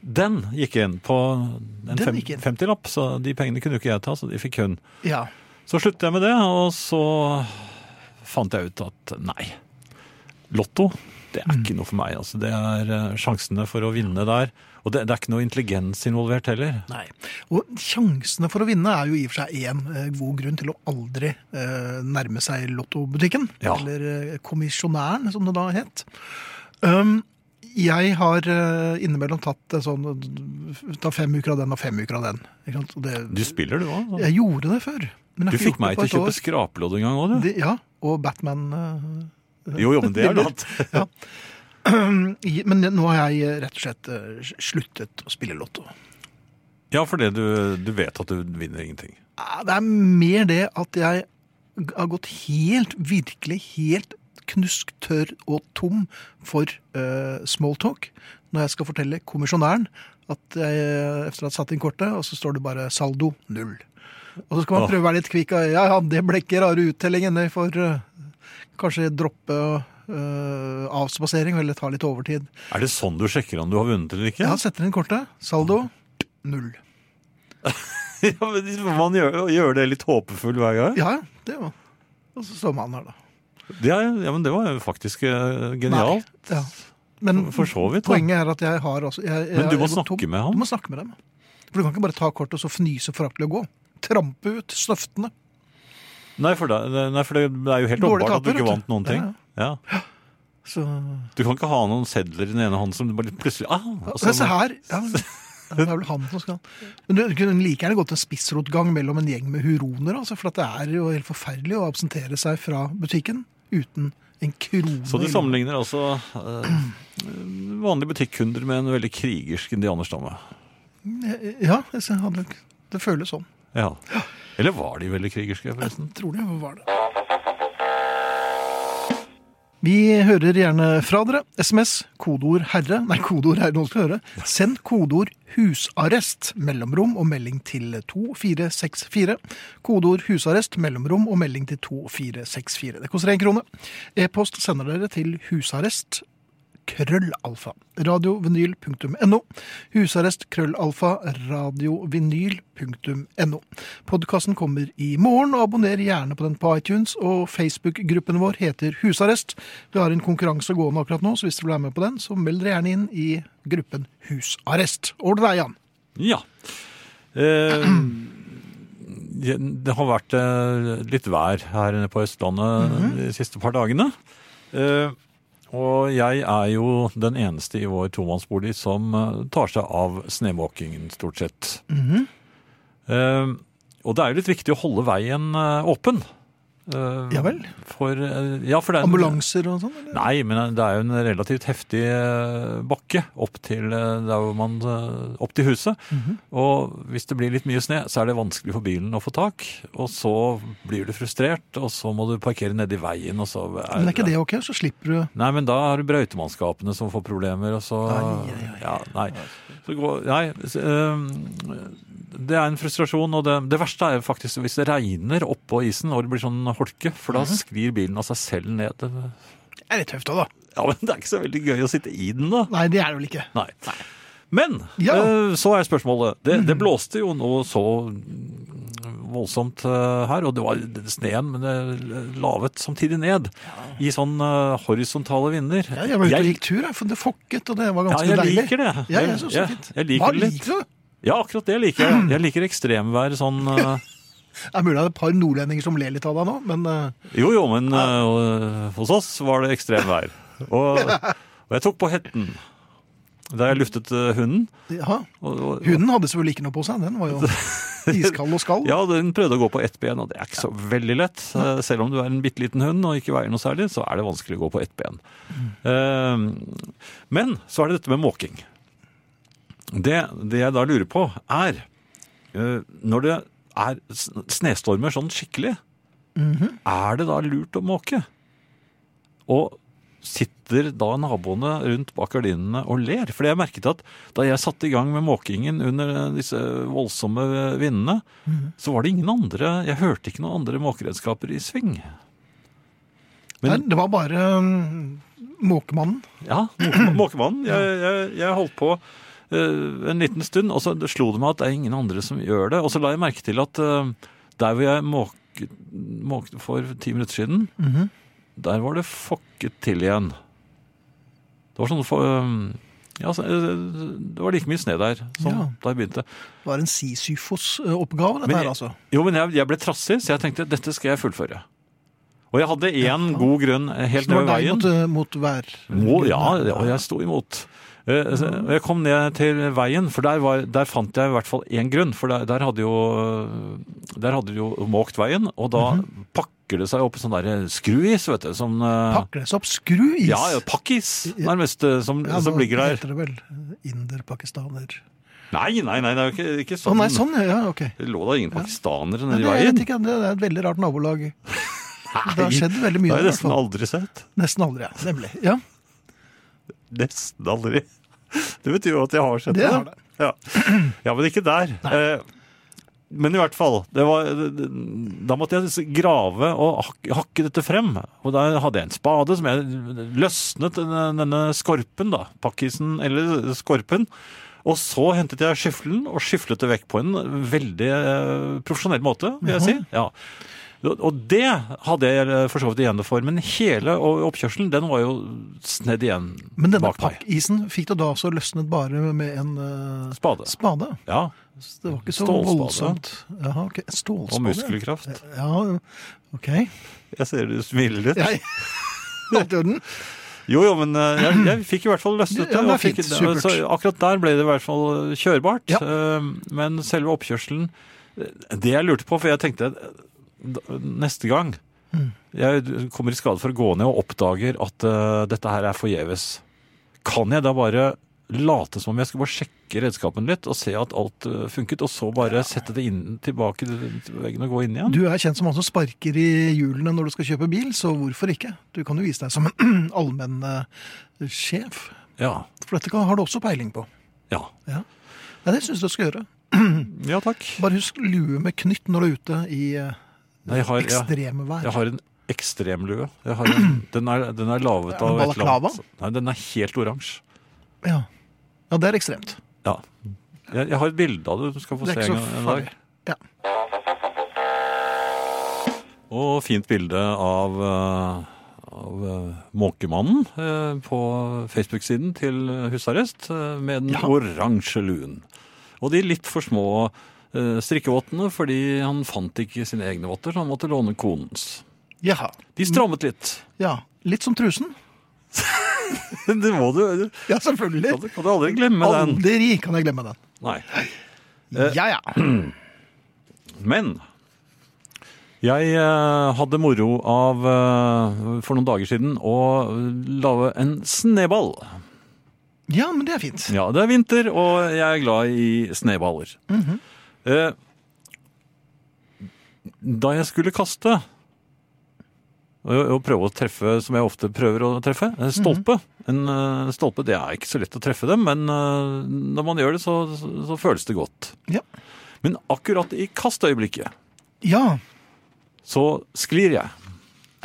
C: Den gikk inn på en
B: Mhm. Den
C: fem-
B: gikk inn.
C: 50-lapp, så de pengene kunne jo ikke jeg ta, så de fikk hun.
B: Ja.
C: Så sluttet jeg med det, og så fant jeg ut at nei. Lotto, det er
B: Mm.
C: ikke noe for meg. Altså, det er eh, sjansene for å vinne der. Og det, det er ikke noe intelligens involvert heller.
B: Nei. Og sjansene for å vinne er jo i og for seg én eh, god grunn til å aldri eh, nærme seg lottobutikken.
C: Ja.
B: Eller eh, kommisjonæren, som det da het. Um, jeg har eh, innimellom tatt eh, sånn eh, Ta fem uker av den og fem uker av den. Ikke sant? Og det,
C: Du spiller, du sånn. òg.
B: jeg gjorde det før. men jeg
C: Du
B: har ikke
C: fikk
B: gjort
C: meg
B: det
C: til å
B: på
C: kjøpe
B: et
C: skrapelodd en gang òg, du.
B: år. Det- Ja, og Batman eh, (clears throat)
C: Jo, jo,
B: (laughs)
C: men det er
B: Bilder.
C: lov.
B: i- Men nå har jeg eh, rett og slett eh, sluttet å spille lotto.
C: Ja, fordi du, du vet at du vinner ingenting.
B: Ja, Det er mer det at jeg g- har gått helt, virkelig helt knusktørr og tom for eh, smalltalk når jeg skal fortelle kommisjonæren at jeg, eh, efter at jeg satt inn kortet, og så står det bare saldo null. Og så skal man prøve å være litt kvikk. og Ja, ja, det ble ikke rare uttellingen. Jeg får eh, kanskje droppe eh, avspasering eller ta litt overtid.
C: Er det sånn du sjekker om du har vunnet eller ikke? (laughs)
B: Ja, setter inn kortet. Saldo null.
C: Ja, men Man gjør, gjør det litt håpefull hver gang.
B: Ja, ja, det var Og så står man her, da.
C: Det er, ja, men det var jo faktisk eh, genialt.
B: Nei, ja. Men
C: For så vidt, da.
B: poenget er at jeg har altså jeg, jeg,
C: Men du må
B: jeg går
C: snakke
B: tom.
C: med han.
B: Du må snakke med dem. For du kan ikke bare ta kortet og så fnyse foraktelig og gå. Trampe ut snøftene.
C: Nei, for, da, eh, nei, for det er jo helt
B: Dårlig
C: åpenbart at du
B: taper,
C: ikke
B: vet
C: vant
B: du.
C: noen ting. Ja.
B: Så
C: Du kan ikke ha noen sedler i den ene hånden som du bare litt plutselig ah, og så-
B: Men Se her! Ja, ja, det er vel han som skal Men du kunne like gjerne gått en spissrotgang mellom en gjeng med huroner, altså, for at det er jo helt forferdelig å absentere seg fra butikken uten en krone.
C: Så du
B: i lommen.
C: sammenligner altså eh, vanlige butikkunder med en veldig krigersk indianerstamme.
B: Ja, jeg ser- han- det føles sånn.
C: Ja. Eller var de veldig krigerske, forresten?
B: Tror det var det. Vi hører gjerne fra dere. SMS, kodeord 'herre' Nei, kodeord herre, noen skal høre. Send kodeord 'husarrest', mellomrom og melding til 2464. Kodeord 'husarrest', mellomrom og melding til 2464. Det koster én krone. E-post sender dere til husarrest krøllalfa, radiovinyl.no. Husarrest krøllalfa, radiovinyl.no. Podkasten kommer i morgen, og abonner gjerne på den på iTunes. Og Facebook-gruppen vår heter Husarrest. Vi har en konkurranse gående akkurat nå, så hvis du vil være med på den, så meld dere gjerne inn i gruppen Husarrest. Over til deg, Jan.
C: Ja. Eh, ja, det har vært eh, litt vær her nede på Østlandet
B: Mhm.
C: de siste par dagene. Eh, og jeg er jo den eneste i vår tomannsbolig som eh, tar seg av snømåkingen, stort sett.
B: Mhm.
C: eh, og det er jo litt viktig å holde veien eh, åpen. Eh,
B: Ja vel?
C: For, eh, ja, for det er en-
B: Ambulanser og sånn? eller?
C: Nei, men det er jo en relativt heftig eh, bakke opp til, eh, der hvor man, eh, opp til huset.
B: Mhm.
C: Og hvis det blir litt mye sne, så er det vanskelig for bilen å få tak. Og så blir du frustrert, og så må du parkere nedi veien. Og så er
B: Men er ikke det ok? Så slipper du
C: Nei, men da har du brøytemannskapene som får problemer, og så
B: Ai, ai, ai.
C: Ja, nei. Så går, nei så, øhm, det er en frustrasjon, og det, det verste er faktisk hvis det regner oppå isen og det blir sånn holke, for da
B: Mhm.
C: sklir bilen av seg selv ned. eh,
B: Det er litt tøft òg, da.
C: Ja, men det er ikke så veldig gøy å sitte i den, da.
B: Nei, det er det vel ikke.
C: Nei. Men
B: Ja. Mm.
C: øh, så er spørsmålet det, det blåste jo noe så voldsomt øh, her, og det var sneen, men det lavet samtidig ned i sånn øh, horisontale vinder.
B: Ja, jeg var ute og gikk tur, jeg, for det fokket, og det var
C: Ja,
B: ganske
C: jeg
B: deilig.
C: liker det.
B: Ja, jeg synes det
C: Ja,
B: er fint.
C: jeg liker
B: Hva
C: det litt.
B: liker du?
C: Ja, akkurat det liker jeg. Jeg liker ekstremvær sånn
B: (laughs)
C: eh,
B: Det er mulig det er et par nordlendinger som ler litt av deg nå, men eh,
C: Jo, jo, men eh, hos oss var det ekstremvær.
B: (laughs)
C: Og, og jeg tok på hetten da jeg luftet eh, hunden.
B: ja.
C: Og, og,
B: Hunden hadde selvfølgelig ikke noe på seg, den var jo
C: (laughs)
B: iskald og skall.
C: ja, den prøvde å gå på ett ben, og det er ikke så veldig lett. Eh, Selv om du er en bitte liten hund og ikke veier noe særlig, så er det vanskelig å gå på ett ben. Eh, Men så er det dette med måking. Det, det jeg da lurer på, er eh, Når det er sn- snestormer sånn skikkelig, er det da lurt å måke? Og sitter da naboene rundt bak gardinene og ler? For jeg merket at da jeg satte i gang med måkingen under disse voldsomme vindene, så var det ingen andre Jeg hørte ikke noen andre måkeredskaper i sving.
B: Nei,
C: Men-
B: det var bare mm, måkemannen.
C: Ja,
B: (clears throat)
C: måke- Måkemannen. Jeg, jeg, jeg holdt på eh, en liten stund, og så slo det meg at det er ingen andre som gjør det. Og så la jeg merke til at eh, der hvor jeg måket, måkte for ti minutter siden,
B: Mhm.
C: der var det fokket til igjen. Det var sånn for, eh, ja, så, eh, Det var like mye sne der som
B: Ja.
C: da jeg begynte.
B: Det var en Sisyfos-oppgave, dette
C: Men-
B: her, altså.
C: Jo, men jeg, jeg ble trassig, så jeg tenkte dette skal jeg fullføre. Og jeg hadde én god grunn eh, helt ned
B: Det var deg
C: ved veien.
B: mot, eh, mot vær...
C: Må, ja, ja, og jeg sto imot. Eh, så- og Jeg kom ned til veien, for der, var, der fant jeg i hvert fall én grunn. For der, der hadde jo Der hadde de jo måkt veien, og da
B: Mhm.
C: pakker det seg opp sånn der skruis, vet du. Som eh,
B: Pakker det seg opp skruis?
C: Ja, ja, pakkis, nærmest, eh, som,
B: Ja,
C: som
B: nå
C: ligger der.
B: heter det vel eh, Inder-pakistaner.
C: Nei, nei, nei, det er jo ikke, ikke
B: Å
C: sånn.
B: nei, sånn, ja, ja, ok.
C: Det lå da ingen pakistanere
B: Nei, det,
C: nedi
B: jeg vet
C: veien.
B: ikke, det er et veldig rart nabolag. Det har
C: Nei,
B: skjedd veldig
C: Det
B: mye.
C: har
B: i
C: jeg
B: hvert
C: nesten
B: fall.
C: aldri sett.
B: Nesten aldri, ja. Nemlig. Ja.
C: Nesten aldri. Det betyr jo at jeg har sett
B: Det
C: det.
B: har det.
C: Ja. ja, men ikke der. Eh, Men i hvert fall, det var, da måtte jeg grave og hak- hakke dette frem. Og der hadde jeg en spade som jeg løsnet denne, denne skorpen, da. Pakkisen eller skorpen. Og så hentet jeg skyffelen og skyflet det vekk på en veldig eh, profesjonell måte, vil jeg si. Ja. Og det hadde jeg eh, for så vidt igjen det for, men hele oppkjørselen den var jo snedd igjen
B: Men denne
C: bak meg.
B: pakkisen fikk du da også løsnet bare med en eh,
C: Spade.
B: spade.
C: Ja,
B: Så det var ikke så
C: Stålspade.
B: voldsomt. Jaha, ok. Stålspade.
C: og
B: ja.
C: muskelkraft.
B: Ja, ok.
C: Jeg ser du smiler litt.
B: Jeg... Helt i orden.
C: Jo, jo, men eh, jeg, jeg fikk i hvert fall løstet det.
B: Ja, det er
C: og fikk-
B: fint. Supert.
C: Så akkurat der ble det i hvert fall kjørbart.
B: Ja.
C: Eh, Men selve oppkjørselen eh, Det jeg lurte på, for jeg tenkte eh, da- neste gang
B: Mm.
C: jeg kommer i skade for å gå ned og oppdager at eh, dette her er forgjeves, kan jeg da bare late som om jeg skulle bare sjekke redskapen litt og se at alt eh, funket, og så bare sette det inn, tilbake til veggen og gå inn igjen?
B: Du er kjent som han som sparker i hjulene når du skal kjøpe bil, så hvorfor ikke? Du kan jo vise deg som en (clears throat) allmenn eh, sjef.
C: Ja.
B: For dette kan- har du også peiling på.
C: Ja.
B: Ja, ja det syns jeg du skal gjøre.
C: ja takk.
B: Bare husk lue med knytt når du er ute i eh,
C: Nei, jeg har- ja.
B: ekstreme vær.
C: Jeg har en ekstremlue. Jeg har en,
B: (clears throat)
C: den, er, den er lavet
B: Er
C: av
B: den
C: et eller annet. Nei, den er helt oransje.
B: Ja. ja, det er ekstremt.
C: Ja. Jeg, jeg har et bilde av det du skal få
B: Det er
C: se
B: ikke
C: en,
B: så
C: gang- en dag.
B: farlig. Ja.
C: Og fint bilde av, eh, av eh, Måkemannen eh, på Facebook-siden til husarrest eh, med den
B: Ja.
C: oransje luen. Og de litt for små eh, strikkevottene, fordi han fant ikke sine egne votter, så han måtte låne konens.
B: Jaha.
C: De strammet litt.
B: (laughs) Ja. Litt som trusen.
C: Det må du, du
B: Ja, selvfølgelig.
C: kan, kan du aldri glemme den.
B: Aldri kan jeg glemme den.
C: Nei.
B: Ja, ja.
C: Men jeg eh, hadde moro av eh, for noen dager siden å lage en sneball.
B: Ja, men det er fint.
C: Ja, det er vinter, og jeg er glad i sneballer. Eh, Da jeg skulle kaste og og prøve å treffe, som jeg ofte prøver å treffe, en stolpe. En eh, stolpe, det er ikke så lett å treffe dem, men eh, når man gjør det, så, så, så føles det godt.
B: Ja.
C: Men akkurat i kastøyeblikket
B: Ja,
C: så sklir jeg.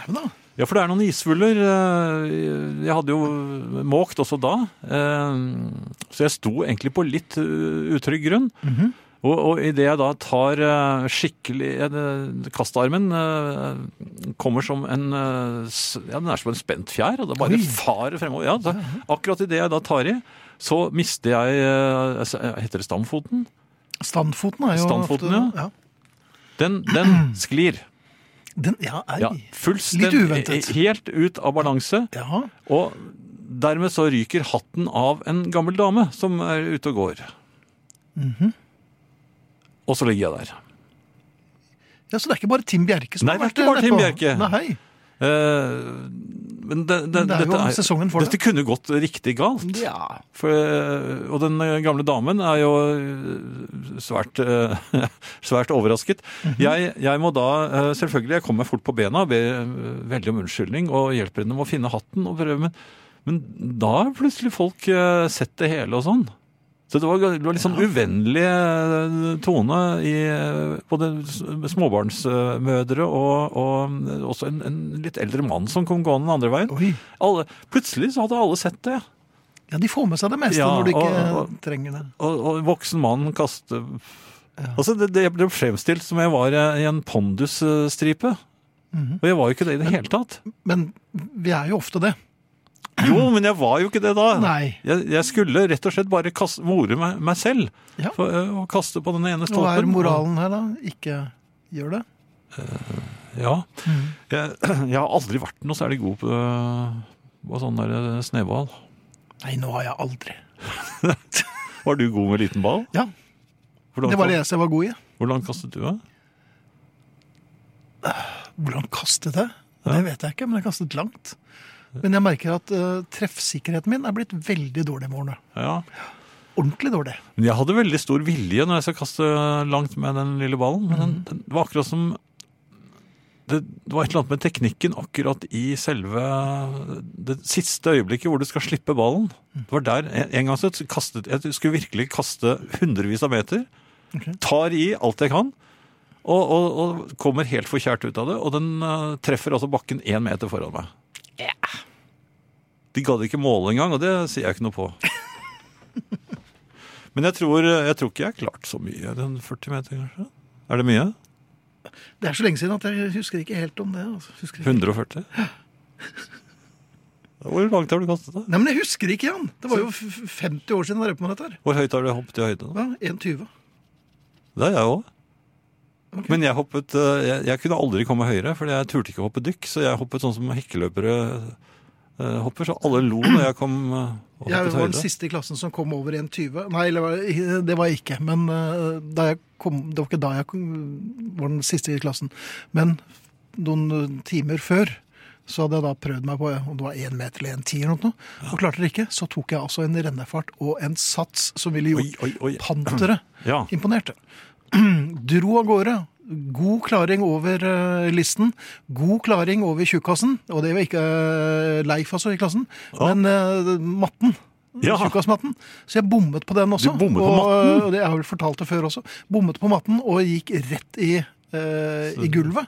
B: ja da.
C: Ja, for det er noen isvuller. eh, Jeg hadde jo måkt også da. eh, Så jeg sto egentlig på litt eh, utrygg grunn.
B: Mhm.
C: Og, og idet jeg da tar eh, skikkelig eh, Kastarmen eh, kommer som en eh, s- Ja, den er som en spent fjær, og det bare
B: Oi.
C: farer fremover. Ja, så akkurat idet jeg da tar i, så mister jeg eh, altså, Heter det stamfoten?
B: Standfoten er jo
C: Standfoten,
B: ofte, ja.
C: Den, den
B: (clears throat)
C: sklir.
B: Den, ja, ei.
C: Ja, fullstendig-
B: Litt uventet.
C: Helt ut av balanse.
B: Ja.
C: Og dermed så ryker hatten av en gammel dame som er ute og går.
B: Mhm.
C: Og så ligger jeg der.
B: ja, så det er ikke bare Tim Bjerke som
C: Nei, det er
B: har vært
C: ikke bare Tim
B: nedpå.
C: Bjerke.
B: Nei,
C: Eh, men det, det,
B: Men det er jo
C: dette
B: sesongen for det.
C: dette kunne gått riktig galt.
B: Ja.
C: For, eh, og den eh, gamle damen er jo eh, svært, eh, (laughs) svært overrasket.
B: Mhm.
C: jeg, jeg må da eh, selvfølgelig Jeg kommer meg fort på bena, ber eh, veldig om unnskyldning og hjelper henne med å finne hatten. Og prøve, men, men da har plutselig folk eh, sett det hele og sånn. Så det var, det var litt sånn uvennlig eh, tone i eh, både s- småbarnsmødre og, og eh, også en, en litt eldre mann som kom gående den andre veien.
B: Oi.
C: Alle, plutselig så hadde alle sett det.
B: Ja, de får med seg det meste
C: Ja,
B: når de ikke
C: og- og-
B: trenger det.
C: og, og en voksen mann kaste Altså, det, det ble fremstilt som jeg var eh, i en pondusstripe. Og jeg var jo ikke det i det hele tatt.
B: Mhm. Men vi er jo ofte det.
C: Jo, men jeg var jo ikke det da.
B: Nei.
C: Jeg, jeg skulle rett og slett bare kaste, more meg, meg selv
B: Ja.
C: for, eh, og kaste på den ene
B: Hva
C: stolpen.
B: er moralen her, da? Ikke gjør det?
C: Ja.
B: Mm.
C: Jeg, (clears throat) jeg har aldri vært noe særlig god på, eh, på sånn der eh, snøball.
B: Nei, nå har jeg aldri.
C: Var du god med liten ball?
B: Ja,
C: Hvor
B: Det
C: langt,
B: var det eneste jeg var god i.
C: Hvor langt kastet du? da?
B: Hvordan kastet jeg? Det vet jeg ikke, men jeg kastet langt. Men jeg merker at eh, treffsikkerheten min er blitt veldig dårlig i morgen.
C: Ja.
B: Ordentlig dårlig.
C: Men jeg hadde veldig stor vilje når jeg skal kaste langt med den lille ballen. Men den, den var akkurat som det, det var et eller annet med teknikken akkurat i selve det siste øyeblikket hvor du skal slippe ballen. Det var der en, en gang så kastet Jeg skulle virkelig kaste hundrevis av meter. Tar i alt jeg kan, og, og, og kommer helt forkjært ut av det. Og den eh, treffer altså bakken én meter foran meg.
D: Ja.
C: De gadd ikke måle engang, og det sier jeg ikke noe på. Men jeg tror, jeg tror ikke jeg har klart så mye. Den 40 meter, kanskje? Er det mye?
B: Det er så lenge siden at jeg husker ikke helt om det. Altså. Husker ikke.
C: 140? Hvor langt har du kastet deg?
B: Nei, men jeg husker ikke, Jan! Det var jo f- f- 50 år siden jeg drev på med dette her.
C: Hvor høyt har du hoppet i høyden? da?
B: Hva? 1,20.
C: Det er jeg òg. Men jeg hoppet eh, jeg, jeg kunne aldri komme høyere, for jeg turte ikke å hoppe dykk. Så jeg hoppet sånn som hekkeløpere eh, hopper. Så alle lo når jeg kom eh, og
B: Jeg
C: hoppet
B: var den
C: høyde.
B: siste i klassen som kom over 1,20. Nei, eller var det- det var jeg ikke. Men eh, da jeg kom, det var ikke da jeg kom, var den siste i klassen. Men noen eh, timer før så hadde jeg da prøvd meg på om det var 1 meter eller 1,10 eller noe. Og klarte det ikke. Så tok jeg altså en rennefart og en sats som ville
C: Oi,
B: gjort
C: oi, oi.
B: panteret
C: (clears throat) Ja.
B: imponerte. Dro av gårde. God klaring over eh, listen. God klaring over tjukkasen. Og det var ikke eh, Leif altså i klassen, men eh, matten.
C: Ja.
B: Tjukkassmatten. Så jeg bommet på den også.
C: Du bommet på
B: og,
C: matten?
B: Og det jeg har vel fortalt det før også. Bommet på matten og gikk rett i eh, i gulvet.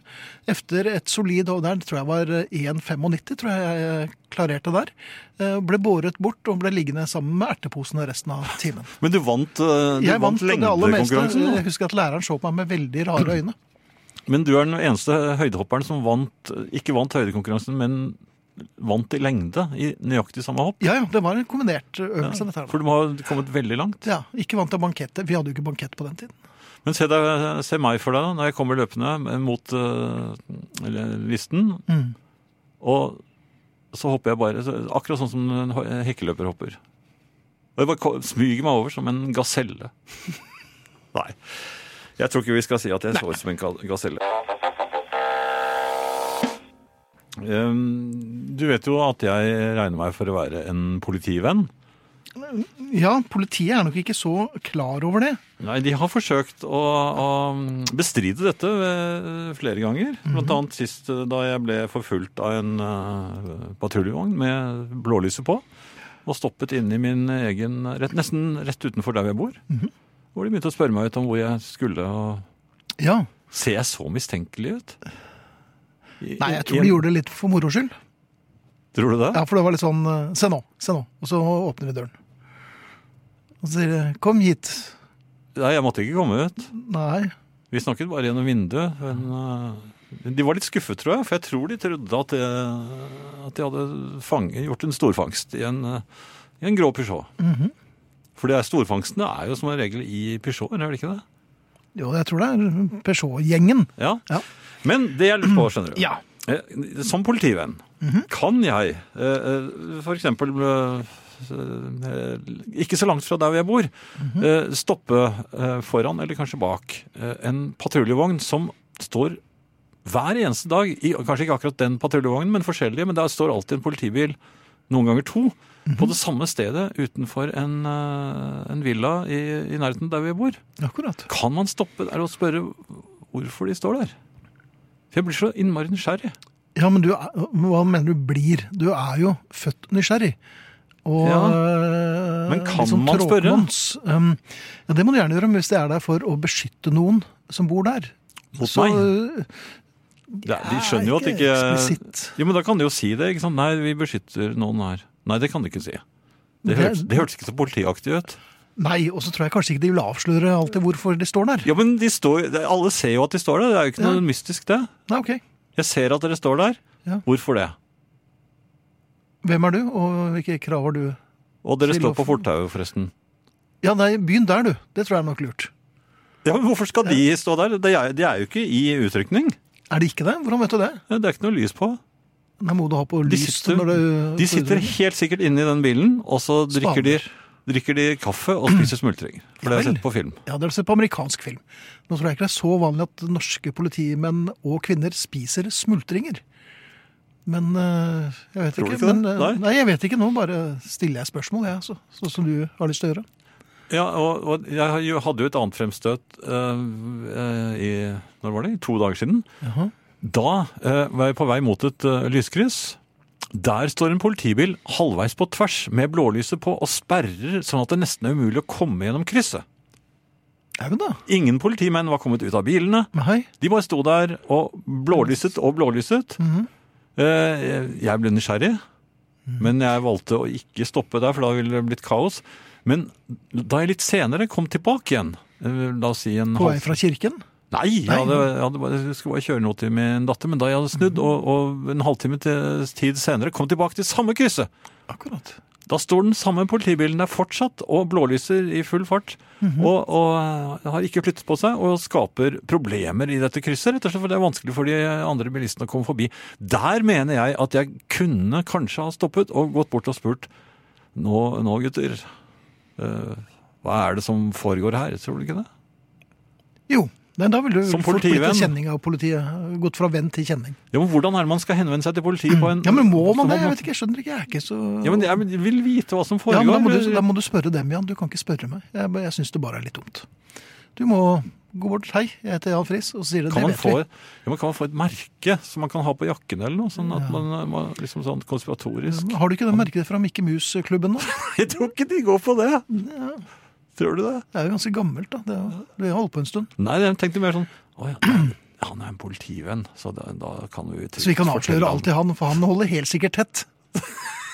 B: Efter et solid og der tror jeg var eh, 1,95 tror jeg jeg klarerte der. Eh, Ble båret bort og ble liggende sammen med erteposene resten av timen.
C: Men du vant, eh, du
B: Jeg vant
C: vant
B: det aller meste.
C: lengdekonkurransen. da.
B: Jeg husker at læreren så på meg med veldig rare øyne.
C: Men du er den eneste høydehopperen som vant, ikke vant høydekonkurransen, men vant i lengde i nøyaktig samme hopp.
B: Ja, ja, det var en kombinert øvelse, dette her.
C: For du må ha kommet veldig langt.
B: Ja, ikke vant til bankettet. Vi hadde jo ikke bankett på den tiden.
C: Men se, deg, se meg for deg da, når jeg kommer løpende mot eh, listen,
B: Mm.
C: og så hopper jeg bare, så- akkurat sånn som en ho- hekkeløper hopper. Og jeg bare ko- smyger meg over som en gaselle. (laughs) Nei, jeg tror ikke vi skal si at jeg så ut som en ga- gaselle. Ehm, du vet jo at jeg regner meg for å være en politivenn.
B: Ja, politiet er nok ikke så klar over det.
C: Nei, de har forsøkt å, å bestride dette eh, flere ganger.
B: Mhm.
C: Blant annet sist eh, da jeg ble forfulgt av en eh, patruljevogn med blålyset på. Og stoppet inne i min egen rett, Nesten rett utenfor der jeg bor.
B: Mhm.
C: Hvor de begynte å spørre meg ut om hvor jeg skulle. og
B: Ja.
C: Ser jeg så mistenkelig ut? I-
B: Nei, jeg
C: i-
B: tror de gjorde det litt for moro skyld.
C: Tror du det?
B: Ja, for det var litt sånn eh, Se nå, se nå. Og så åpner vi døren. Og så sier de Kom hit.
C: Nei, jeg måtte ikke komme ut.
B: Nei.
C: Vi snakket bare gjennom vinduet. Men, eh, de var litt skuffet, tror jeg, for jeg tror de trodde at, det, at de hadde fang, gjort en storfangst i en, eh, i en grå Peugeot. For det er, storfangstene er jo som regel i Peugeot, er det ikke det?
B: Jo, jeg tror det er Peugeot-gjengen.
C: Ja.
B: Ja.
C: Men det jeg lurer på, skjønner du.
B: Ja. Mhm.
C: Eh, Som politivenn, kan jeg eh, eh, for eksempel eh, eh, ikke så langt fra der jeg bor,
B: Mhm.
C: eh, stoppe eh, foran eller kanskje bak eh, en patruljevogn som står hver eneste dag, i, kanskje ikke akkurat den patruljevognen, men forskjellige, men der står alltid en politibil, noen ganger to,
B: Mhm.
C: på det samme stedet utenfor en, eh, en villa i, i nærheten der vi bor.
B: Akkurat.
C: Kan man stoppe der og spørre hvorfor de står der? For jeg blir så innmari nysgjerrig.
B: Ja, men du er, hva mener du blir? Du er jo født nysgjerrig. Og,
C: Ja.
B: eh,
C: Men kan
B: litt sånn
C: man spørre?
B: tråkmanns. Um, ja, det må du gjerne gjøre, men hvis det er der for å beskytte noen som bor der.
C: Mot
B: så,
C: meg? Det er- de skjønner jo at
B: ikke
C: ikke
B: eksplisitt.
C: Jo, men da kan de jo si det. ikke sant? Nei, vi beskytter noen her. Nei, det kan de ikke si. Det
B: Det-
C: hørtes, det hørtes ikke så politiaktig ut.
B: Nei, og så tror jeg kanskje ikke de vil avsløre alltid hvorfor de står der.
C: Ja, men de står, det- Alle ser jo at de står der. Det er jo ikke
B: Ja.
C: noe mystisk, det.
B: Nei, ok.
C: Jeg ser at dere står der.
B: Ja.
C: Hvorfor det?
B: Hvem er du, og hvilke krav har du?
C: Og dere
B: Til
C: står
B: å-
C: på fortauet, forresten.
B: Ja, nei, begynn der, du. Det tror jeg er nok lurt.
C: Ja, men Hvorfor skal de stå der? De er, de er jo ikke i utrykning.
B: Er det ikke det? Hvordan vet du det?
C: Det er ikke noe lys på.
B: Nei, må du ha på
C: De
B: lys
C: sitter,
B: når du
C: de sitter helt sikkert inne i den bilen, og så drikker de, drikker de kaffe og spiser smultringer. For det har jeg
B: Vel.
C: sett på film.
B: Ja, det er altså på amerikansk film. Nå tror jeg ikke det er så vanlig at norske politimenn og -kvinner spiser smultringer. Men øh, jeg vet
C: Tror du
B: ikke.
C: ikke det?
B: men, øh,
C: Nei.
B: nei. jeg vet ikke. Nå bare stiller jeg spørsmål, jeg, så, sånn som du har lyst til å gjøre.
C: Ja, og, og jeg har jo- hadde jo et annet fremstøt eh, i når var det? I to dager siden.
B: Jaha.
C: Da eh, var jeg på vei mot et eh, lyskryss. Der står en politibil halvveis på tvers med blålyset på og sperrer sånn at det nesten er umulig å komme gjennom krysset.
B: Au da.
C: Ingen politimenn var kommet ut av bilene.
B: Nei.
C: De bare sto der og blålyset og blålyset.
B: Mhm.
C: Eh, Jeg ble nysgjerrig, men jeg valgte å ikke stoppe der, for da ville det blitt kaos. Men da jeg litt senere kom tilbake igjen, eh, la oss si en
B: På vei
C: halv-
B: fra kirken.
C: Nei, jeg, hadde, jeg, hadde bare, jeg skulle bare kjøre noe til med en datter, men da jeg hadde
B: Mhm.
C: snudd, og, og en halvtime til, tid senere kom tilbake til samme krysset.
B: Akkurat.
C: Da står den samme politibilen der fortsatt og blålyser i full fart.
B: Mhm.
C: og, og eh, har ikke flyttet på seg og skaper problemer i dette krysset. rett og slett, For det er vanskelig for de andre bilistene å komme forbi. Der mener jeg at jeg kunne kanskje ha stoppet og gått bort og spurt Nå, nå gutter. eh, hva er det som foregår her? Tror du ikke det?
B: Jo. Nei, da ville du
C: Som
B: fort blitt en
C: politivenn.
B: kjenning av politiet. Gått fra venn til kjenning.
C: Ja, men Hvordan er det man skal henvende seg til politiet på en
B: Mm. Ja, men må man
C: på
B: det? Jeg
C: en måte?
B: vet ikke, jeg skjønner ikke. Jeg er ikke så
C: Ja, men jeg vil vite hva som
B: Ja,
C: foregår.
B: men da, må du, da må du spørre dem, Jan. Du kan ikke spørre meg. Jeg, jeg syns det bare er litt dumt. Du må gå bort. Hei, jeg heter Jan Friis. Og så sier du
C: kan,
B: det
C: man
B: vet
C: få,
B: vi.
C: ja, men kan man få et merke som man kan ha på jakken eller noe? Sånn at man man liksom sånn konspiratorisk
B: Har du ikke det merket fra Mikke Mus-klubben nå?
C: Jeg tror ikke de går på det! Tror du det?
B: Det er jo ganske gammelt, da. Det er- Det har holdt på en stund.
C: Nei, jeg tenkte mer sånn Å ja, han er en politivenn, så da, da kan vi
B: Så vi kan avsløre alt til han, for han holder helt sikkert tett.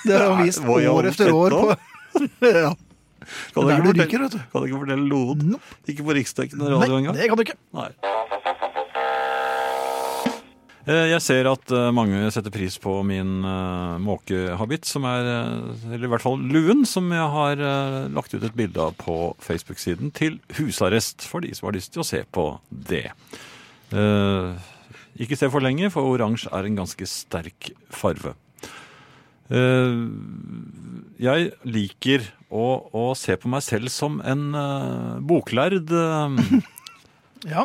B: Det har han vist
C: Hva i all
B: år etter år på (laughs) ja.
C: Kan
B: Det er der
C: du ikke
B: du
C: fortelle-
B: ryker, vet du.
C: Kan du ikke fortelle noen? Ikke på riksdekkende
B: Nei,
C: radio engang?
B: det kan du ikke.
C: Nei. Eh, Jeg ser at eh, mange setter pris på min eh, måkehabit, som er eh, Eller i hvert fall luen, som jeg har eh, lagt ut et bilde av på Facebook-siden til husarrest, for de som har lyst til å se på det. Eh, Ikke se for lenge, for oransje er en ganske sterk farve. Eh, Jeg liker å, å se på meg selv som en eh, boklærd eh,
B: Ja,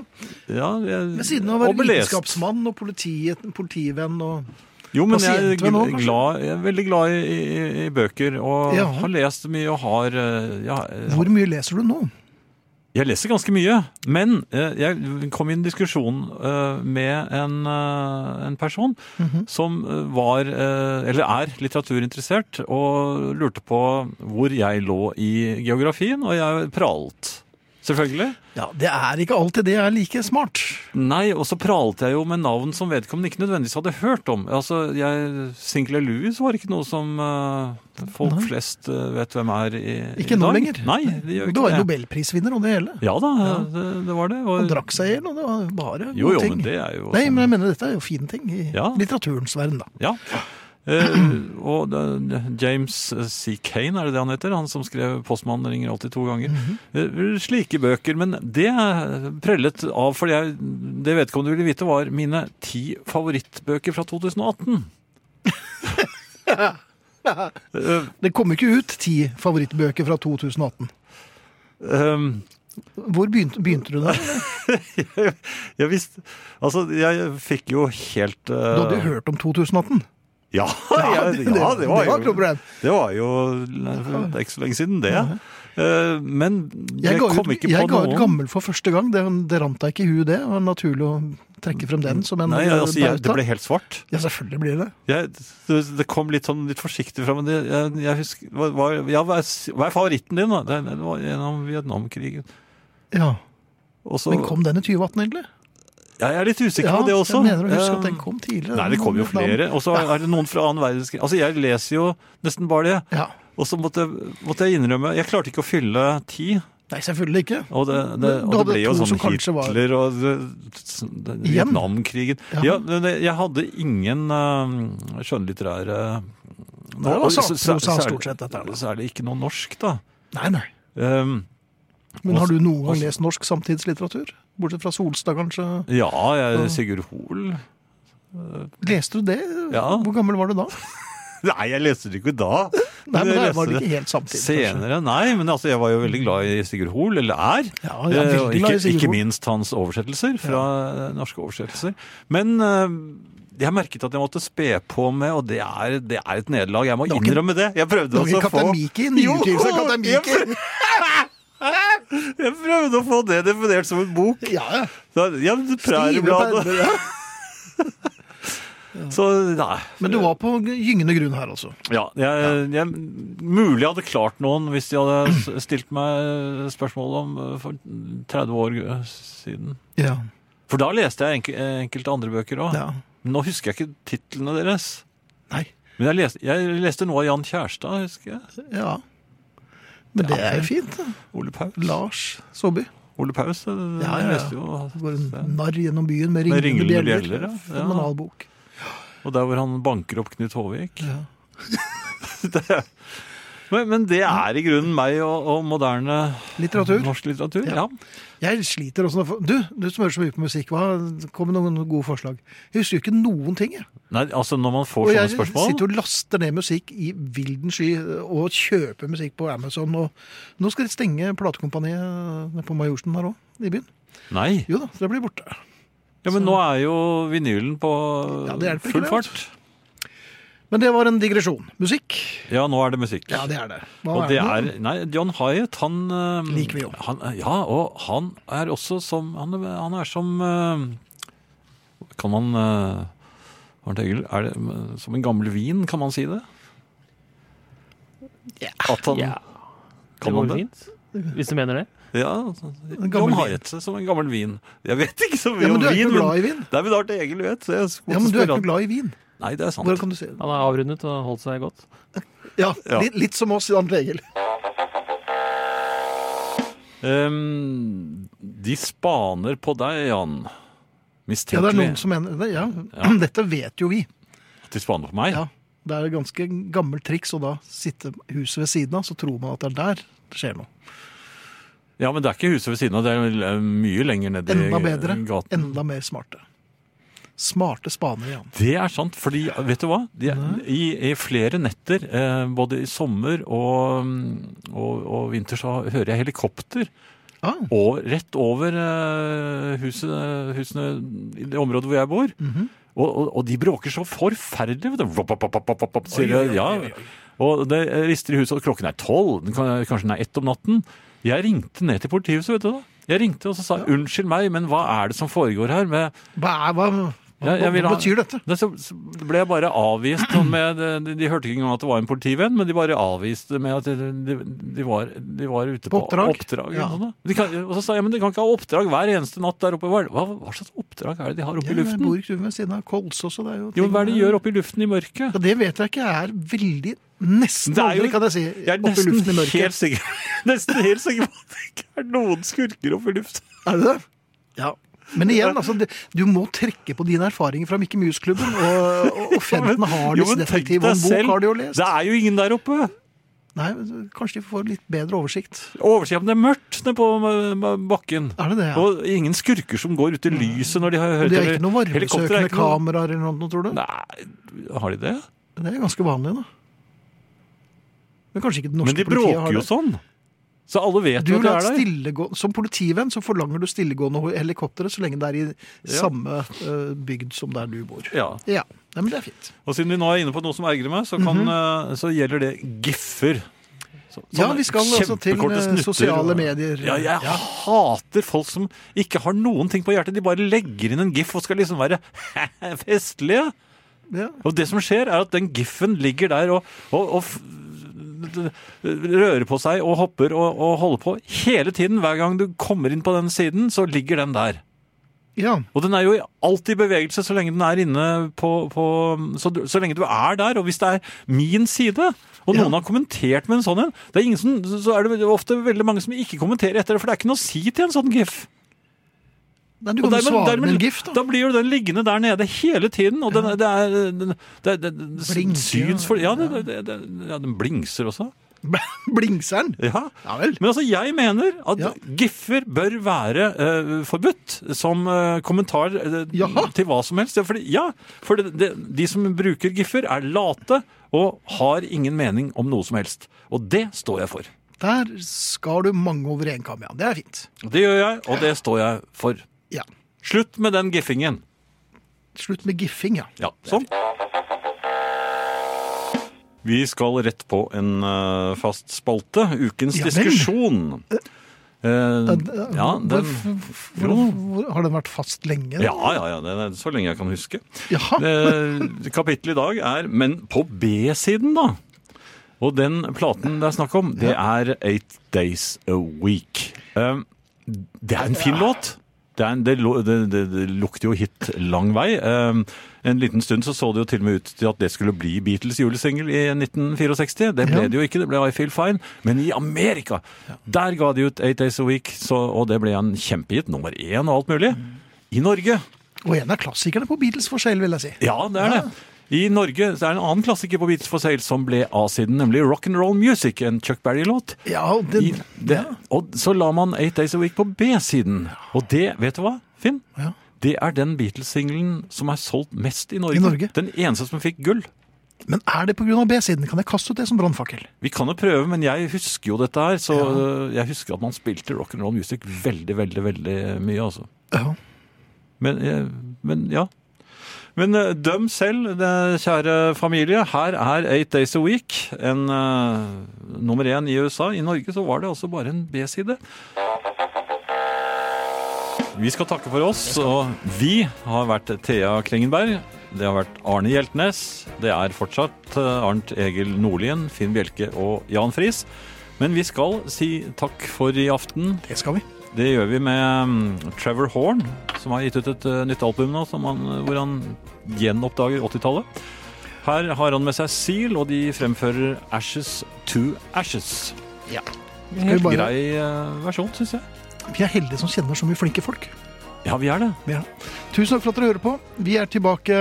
C: ja, jeg,
B: Ved siden av å være
C: og belest.
B: vitenskapsmann og politi, politivenn og
C: Jo, men jeg er,
B: pasientvenn også, kanskje?
C: glad, jeg er veldig glad i, i, i bøker, og
B: Ja.
C: har lest mye og har eh, ja, eh,
B: Hvor mye leser du nå?
C: Jeg leser ganske mye, men eh, jeg kom i en diskusjon eh, med en, eh, en person
B: Mhm.
C: som eh, var, eh, eller er, litteraturinteressert, og lurte på hvor jeg lå i geografien, og jeg pralet. Selvfølgelig.
B: Ja, Det er ikke alltid det er like smart.
C: Nei, og så pralte jeg jo med navn som vedkommende ikke nødvendigvis hadde hørt om. Altså, jeg, Sinclair Lewis var ikke noe som eh, folk
B: Nei.
C: flest eh, vet hvem er i,
B: Ikke
C: i
B: nå
C: dag.
B: lenger.
C: Nei, det gjør
B: Du
C: ikke
B: var
C: det.
B: nobelprisvinner og det hele.
C: Ja da, Det, det var det. og-
B: Han drakk seg i hjel, og det var bare
C: jo,
B: gode
C: jo,
B: ting.
C: men det er jo
B: Nei,
C: sånn-
B: men jeg mener dette er jo fine ting i
C: Ja.
B: litteraturens verden, da.
C: Ja. Eh, og det, James C. Kane, er det det han heter? Han som skrev 'Postmannen ringer alltid to ganger'.
B: Mhm.
C: Eh, Slike bøker. Men det prellet av, for jeg, det vedkommende ville vite, var mine ti favorittbøker fra 2018. Eh,
B: Det kom ikke ut ti favorittbøker fra 2018.
C: eh,
B: Hvor begynte, begynte du der?
C: jeg visste Altså, jeg fikk jo helt eh,
B: Du hadde jo hørt om 2018.
C: Ja, (laughs) jeg, ja, det var
B: (laughs) det var et
C: jo
B: problem.
C: Det var jo det er ikke så lenge siden, det. Eh, Men jeg,
B: Jeg, ga
C: kom
B: ut,
C: ikke
B: jeg
C: på
B: ga ut
C: noen.
B: gammel for første gang. Det, det rant deg ikke i huet, det. Det var naturlig å trekke frem den som en
C: Nei, altså, jeg,
B: eh, bauta.
C: det ble helt svart.
B: Ja, selvfølgelig blir det det.
C: Jeg, det, det kom litt sånn litt forsiktig fram. men det- Jeg, jeg husker, hva, hva- ja, hva, er, s- hva er favoritten din, da? Det, det var gjennom Vietnamkrigen.
B: Ja.
C: Og så-
B: Men kom den i 2018, egentlig?
C: ja, jeg er litt usikker
B: Ja,
C: på det også.
B: jeg mener å huske at den
C: Eh,
B: kom tidligere.
C: Nei, det kom jo flere. Og så er det noen fra annen verdenskrig. Altså, jeg leser jo nesten bare det.
B: Ja.
C: Og så måtte, måtte jeg innrømme Jeg klarte ikke å fylle ti.
B: Nei, selvfølgelig ikke.
C: Og det, det,
B: Men
C: og
B: du
C: det
B: hadde
C: ble jo
B: to som
C: sånn
B: kanskje var-
C: Hitler og det- det-
B: Igjen?
C: Vietnamkrigen.
B: Ja.
C: Ja, men det, jeg hadde ingen eh, skjønnlitterære
B: var
C: Og så-
B: sakprosa
C: så- så er-
B: stort sett dette her, da.
C: Så er det ikke noe norsk, da.
B: Nei, nei.
C: Um,
B: Men har
C: Også-
B: du noen gang
C: også-
B: lest norsk samtidslitteratur? Bortsett fra Solstad, kanskje.
C: ja, jeg, Sigurd Hoel
B: Leste du det?
C: Ja.
B: Hvor gammel var du
C: (laughs)
B: da?
C: Nei, jeg leste det ikke da.
B: Nei, men
C: jeg
B: der
C: leste
B: var det ikke helt samtidig. kanskje.
C: Senere, nei, men altså, jeg var jo veldig glad i Sigurd Hoel, eller er.
B: Ja, jeg er
C: Eh,
B: veldig glad
C: og
B: i
C: ikke,
B: Sigurd
C: ikke
B: Hoel.
C: minst hans oversettelser fra eh, norske oversettelser. Men eh, jeg merket at jeg måtte spe på med, og det er, det er et nederlag. Jeg må
B: var ikke-
C: innrømme det. Jeg prøvde
B: Det var
C: også
B: ikke
C: å få
B: Kaptein Miki? Nyutgivelse av
C: Jo,
B: Kaptein
C: jeg
B: Miki?
C: prøvde- Jeg prøvde å få det definert som en bok.
B: Ja, ja.
C: Da- Ja, Præriebladet.
B: Stivebladet, ja.
C: (laughs) Så nei.
B: Men du var på gyngende grunn her, altså.
C: Ja, jeg, jeg, mulig jeg hadde klart noen hvis de hadde s- stilt meg spørsmål om eh, for 30 år eh, siden.
B: Ja.
C: For da leste jeg enke- eh, enkelte andre bøker òg.
B: ja.
C: Nå husker jeg ikke titlene deres.
B: Nei.
C: Men jeg leste, jeg leste noe av Jan Kjærstad, husker jeg.
B: Ja. Men det er jo fint. da.
C: Ole Paus.
B: Lars Saabye.
C: Ole Paus eh,
B: Ja, ja, ja.
C: jeg leste jo.
B: Går en narr gjennom byen med
C: Med
B: ringende
C: ringende
B: bjeller.
C: bjeller, ja. Ja.
B: Fenomenal bok.
C: Og der hvor han banker opp Knut Håvik.
B: Ja.
C: (laughs) Det- men, men det er i grunnen meg og, og moderne
B: Litteratur.
C: norsk litteratur. Ja.
B: Ja. Jeg sliter også. når- Du, du som hører så mye på musikk, hva? kom med noen gode forslag. Jeg husker jo ikke noen ting. Jeg.
C: Nei, altså Når man får
B: Og
C: sånne
B: jeg
C: spørsmål
B: sitter og laster ned musikk i vilden sky, eh, og kjøper musikk på Amazon. Og nå skal de stenge platekompaniet nede på Majorstuen her òg, i byen.
C: Nei.
B: Jo da, så det blir borte.
C: Ja, Men nå er jo vinylen på
B: Ja, det hjelper ikke
C: full
B: det,
C: fart.
B: Men det var en digresjon. Musikk?
C: Ja, nå er det musikk.
B: Ja, det er det. Hva
C: og det
B: nå?
C: er, nei, John Hyatt, han eh,
B: Liker vi jo.
C: Han, ja, og han er også som Han, han er som eh, Kan man eh, Arnt Egil, er det eh, som en gammel vin, kan man si det?
B: Ja.
C: At han,
F: Ja.
C: Kan
F: det
C: man
F: går
C: det?
F: fint, hvis du mener det.
C: Ja, John
B: gammel vin.
C: Hyatt som en gammel vin. Jeg vet ikke så mye
B: Ja, men
C: om
B: du er ikke
C: vin,
B: noe glad i vin.
C: det er vel Arnt Egil vet. Så jeg måtte
B: Ja, men du er
C: spørre
B: ikke
C: han.
B: noe glad i vin.
C: Nei, det er sant.
B: Hvordan kan du se det?
F: Han har avrundet og holdt seg godt.
B: Ja,
C: Ja.
B: Litt, litt som oss, Arnt Egil.
C: Ehm, de spaner på deg, Jan.
B: Ja, det er
C: Mistenkelig.
B: noen som mener det. Ja.
C: Ja.
B: (clears throat) Dette vet jo vi.
C: At de spaner på meg?
B: Ja, Det er et ganske gammelt triks å da sitte huset ved siden av, så tror man at det er der det skjer noe.
C: Ja, men det er ikke huset ved siden av, det er eh, mye lenger ned i
B: Enda bedre,
C: gaten.
B: enda mer smarte. Smarte spanere, Jan.
C: Det er sant, fordi vet du hva? De, i, I flere netter, eh, både i sommer og, mm, og, og vinter, så hører jeg helikopter.
B: Ah,
C: Og rett over eh, huset, husene i det området hvor jeg bor. og, og, og de bråker så forferdelig. vet du. Vop, vop, vop, vop, vop, sier det, ja. Og det rister i huset, og klokken er tolv. den kan- Kanskje den er ett om natten. Jeg ringte ned til politihuset, vet du da. Jeg ringte og så sa unnskyld meg, men hva er det som foregår her? Med,
B: hva, er- hva, hva,
C: Ja, jeg vil
B: hva
C: ha-
B: betyr dette?
C: det, så, så ble jeg bare avvist. sånn Med, de, de hørte ikke engang at det var en politivenn, men de bare avviste med at de, de, de, var, de var ute på,
B: På oppdrag?
C: oppdrag
B: Ja.
C: og, sånn, da. de kan, og så sa jeg men de kan ikke ha oppdrag hver eneste natt der oppe. Hva, hva hva slags oppdrag er det de har oppe
B: Ja,
C: i
B: jeg
C: luften?
B: bor i Krummen ved siden av Kolsås, og det er jo
C: Jo,
B: ting-
C: men hva er det de gjør oppe i luften i mørket?
B: Ja, det vet jeg ikke. Jeg er veldig Nesten
C: Det er jo-
B: aldri, kan jeg si.
C: Jeg er
B: Oppe i
C: nesten
B: luften i
C: helt
B: mørket.
C: sikker (laughs) Nesten helt sikker på at det ikke er noen skurker oppe i luften.
B: Er det det? Ja. Men igjen, altså, det- du må trekke på dine erfaringer fra Mickey Mouse-klubben. Og, og, og
C: (laughs)
B: Fenton Harleys detektiv og en bok har de jo lest.
C: Det er jo ingen der oppe.
B: Nei, men Kanskje de får litt bedre oversikt.
C: Overskjermen det er mørkt nede på eh, bakken.
B: Er det det? Ja? Mm.
C: Og ingen skurker som går ut i lyset når de har
B: Men
C: hørt
B: de har ikke noen
C: Helikopter er
B: varmesøkende
C: ikke noe-
B: kameraer eller noe, tror du?
C: Nei, har de det?
B: Det er ganske vanlig, da. Men kanskje ikke det
C: Men
B: norske
C: de
B: politiet har
C: bråker jo
B: det.
C: sånn. Så alle vet
B: Du
C: jo
B: vil
C: at de
B: ha et
C: er der.
B: stillegå- Som politivenn så forlanger du stillegående helikoptre så lenge det er i samme eh, bygd som der du bor.
C: Ja.
B: Ja, Nei, men det er fint.
C: Og siden vi nå er inne på noe som ergrer meg, så, kan, eh, så gjelder det giffer. Så,
B: Mhm. Ja,
C: sånne
B: vi skal altså til
C: kjempekorte
B: eh,
C: snutter.
B: sosiale medier.
C: Ja, jeg hater folk som ikke har noen ting på hjertet. De bare legger inn en gif og skal liksom være (laughs) festlige.
B: Ja.
C: Og det som skjer, er at den giffen ligger der og, og, og f- rører på seg og hopper og, og holder på hele tiden. Hver gang du kommer inn på den siden, så ligger den der.
B: Ja.
C: Og den er jo alltid i bevegelse så lenge den er inne på, på så, du, så lenge du er der, og hvis det er min side og
B: Ja.
C: noen har kommentert med en sånn en, det er ingen som, så er det ofte veldig mange som ikke kommenterer etter det, for det er ikke noe å si til en sånn gif.
B: Nei, du
C: Og
B: kan jo
C: dermed-
B: svare med
C: dermed-
B: en gif, da.
C: Da blir jo den liggende der nede hele tiden, og den, det er, den, det, det, det,
B: Blinker,
C: syns for Ja, det, det, det, ja, den blingser også.
B: (laughs) Blingseren.
C: Ja.
B: Ja vel.
C: Men altså, jeg mener at
B: Ja.
C: giffer bør være eh, forbudt som eh, kommentar eh,
B: Jaha.
C: til hva som helst. Ja, fordi, ja, for det, det, de som bruker giffer, er late og har ingen mening om noe som helst. Og det står jeg for.
B: Der skal du mange over én kam, ja. Det er fint.
C: Det gjør jeg, og det står jeg for.
B: Ja.
C: Slutt med den giffingen.
B: Slutt med giffing, ja.
C: Ja, sånn. Vi skal rett på en eh, fast spalte, ukens
B: Ja vel.
C: diskusjon. Eh,
B: Eh,
C: ja, den,
B: hvor- hvor-
C: jo.
B: hvor- Har den vært fast lenge?
C: ja, ja, ja, det er så lenge jeg kan huske.
B: Jaha.
C: Eh, Kapittelet i dag er Men på B-siden, da. Og den platen det er snakk om, det er Eight Days A Week. Eh, Det er en fin låt. Det, er en, det, lo- det, det, det lukter jo hit lang vei. Eh, En liten stund så så det jo til og med ut til at det skulle bli Beatles julesingel i 1964. Det ble
B: Ja.
C: det jo ikke, det ble I Feel Fine. Men i Amerika, der ga de ut Eight Days A Week, så, og det ble en kjempehit. Nummer én og alt
B: Mm.
C: mulig. I Norge
B: Og en av klassikerne på Beatles for sale, vil jeg si.
C: ja, det er det. I Norge så er det en annen klassiker på Beats for Sale som ble A-siden, nemlig Rock and Roll Music, en Chuck Berry-låt.
B: Ja, og
C: I-
B: den,
C: det- Og så la man Eight Days a Week på B-siden. Og det, vet du hva, Finn?
B: Ja.
C: Det er den Beatles-singelen som er solgt mest i Norge.
B: I Norge?
C: Den eneste som fikk gull.
B: Men er det pga. B-siden? Kan jeg kaste ut det som brannfakkel?
C: Vi kan jo prøve, men jeg husker jo dette her, så øh, jeg husker at man spilte rock and roll music veldig, veldig, veldig mye, altså.
B: Ja.
C: Men, eh, men ja. Men eh, døm selv, det, kjære familie. Her er Eight Days a Week. En eh, nummer én i USA. I Norge så var det altså bare en B-side. Vi skal takke for oss, og vi har vært Thea Klingenberg. Det har vært Arne Hjeltnes. Det er fortsatt eh, Arnt Egil Nordlien, Finn Bjelke og Jan Friis. Men vi skal si takk for i aften.
B: Det skal vi.
C: Det gjør vi med mm, Trevor Horn, som har gitt ut et eh, nytt album nå, som han, hvor han gjenoppdager 80-tallet. Her har han med seg Seal, og de fremfører Ashes to Ashes.
B: Skal vi, bare,
C: Grei eh, versjon, syns jeg.
B: vi er heldige som kjenner så mye flinke folk.
C: Ja, vi er det.
B: Ja. Tusen takk for at dere hører på. Vi er tilbake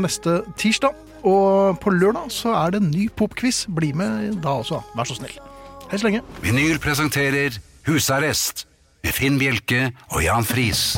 B: neste tirsdag. Og på lørdag så er det en ny popquiz. Bli med da også, vær så snill. Hei så lenge.
A: Vinyl presenterer Husarrest med Finn Bjelke og Jan Friis.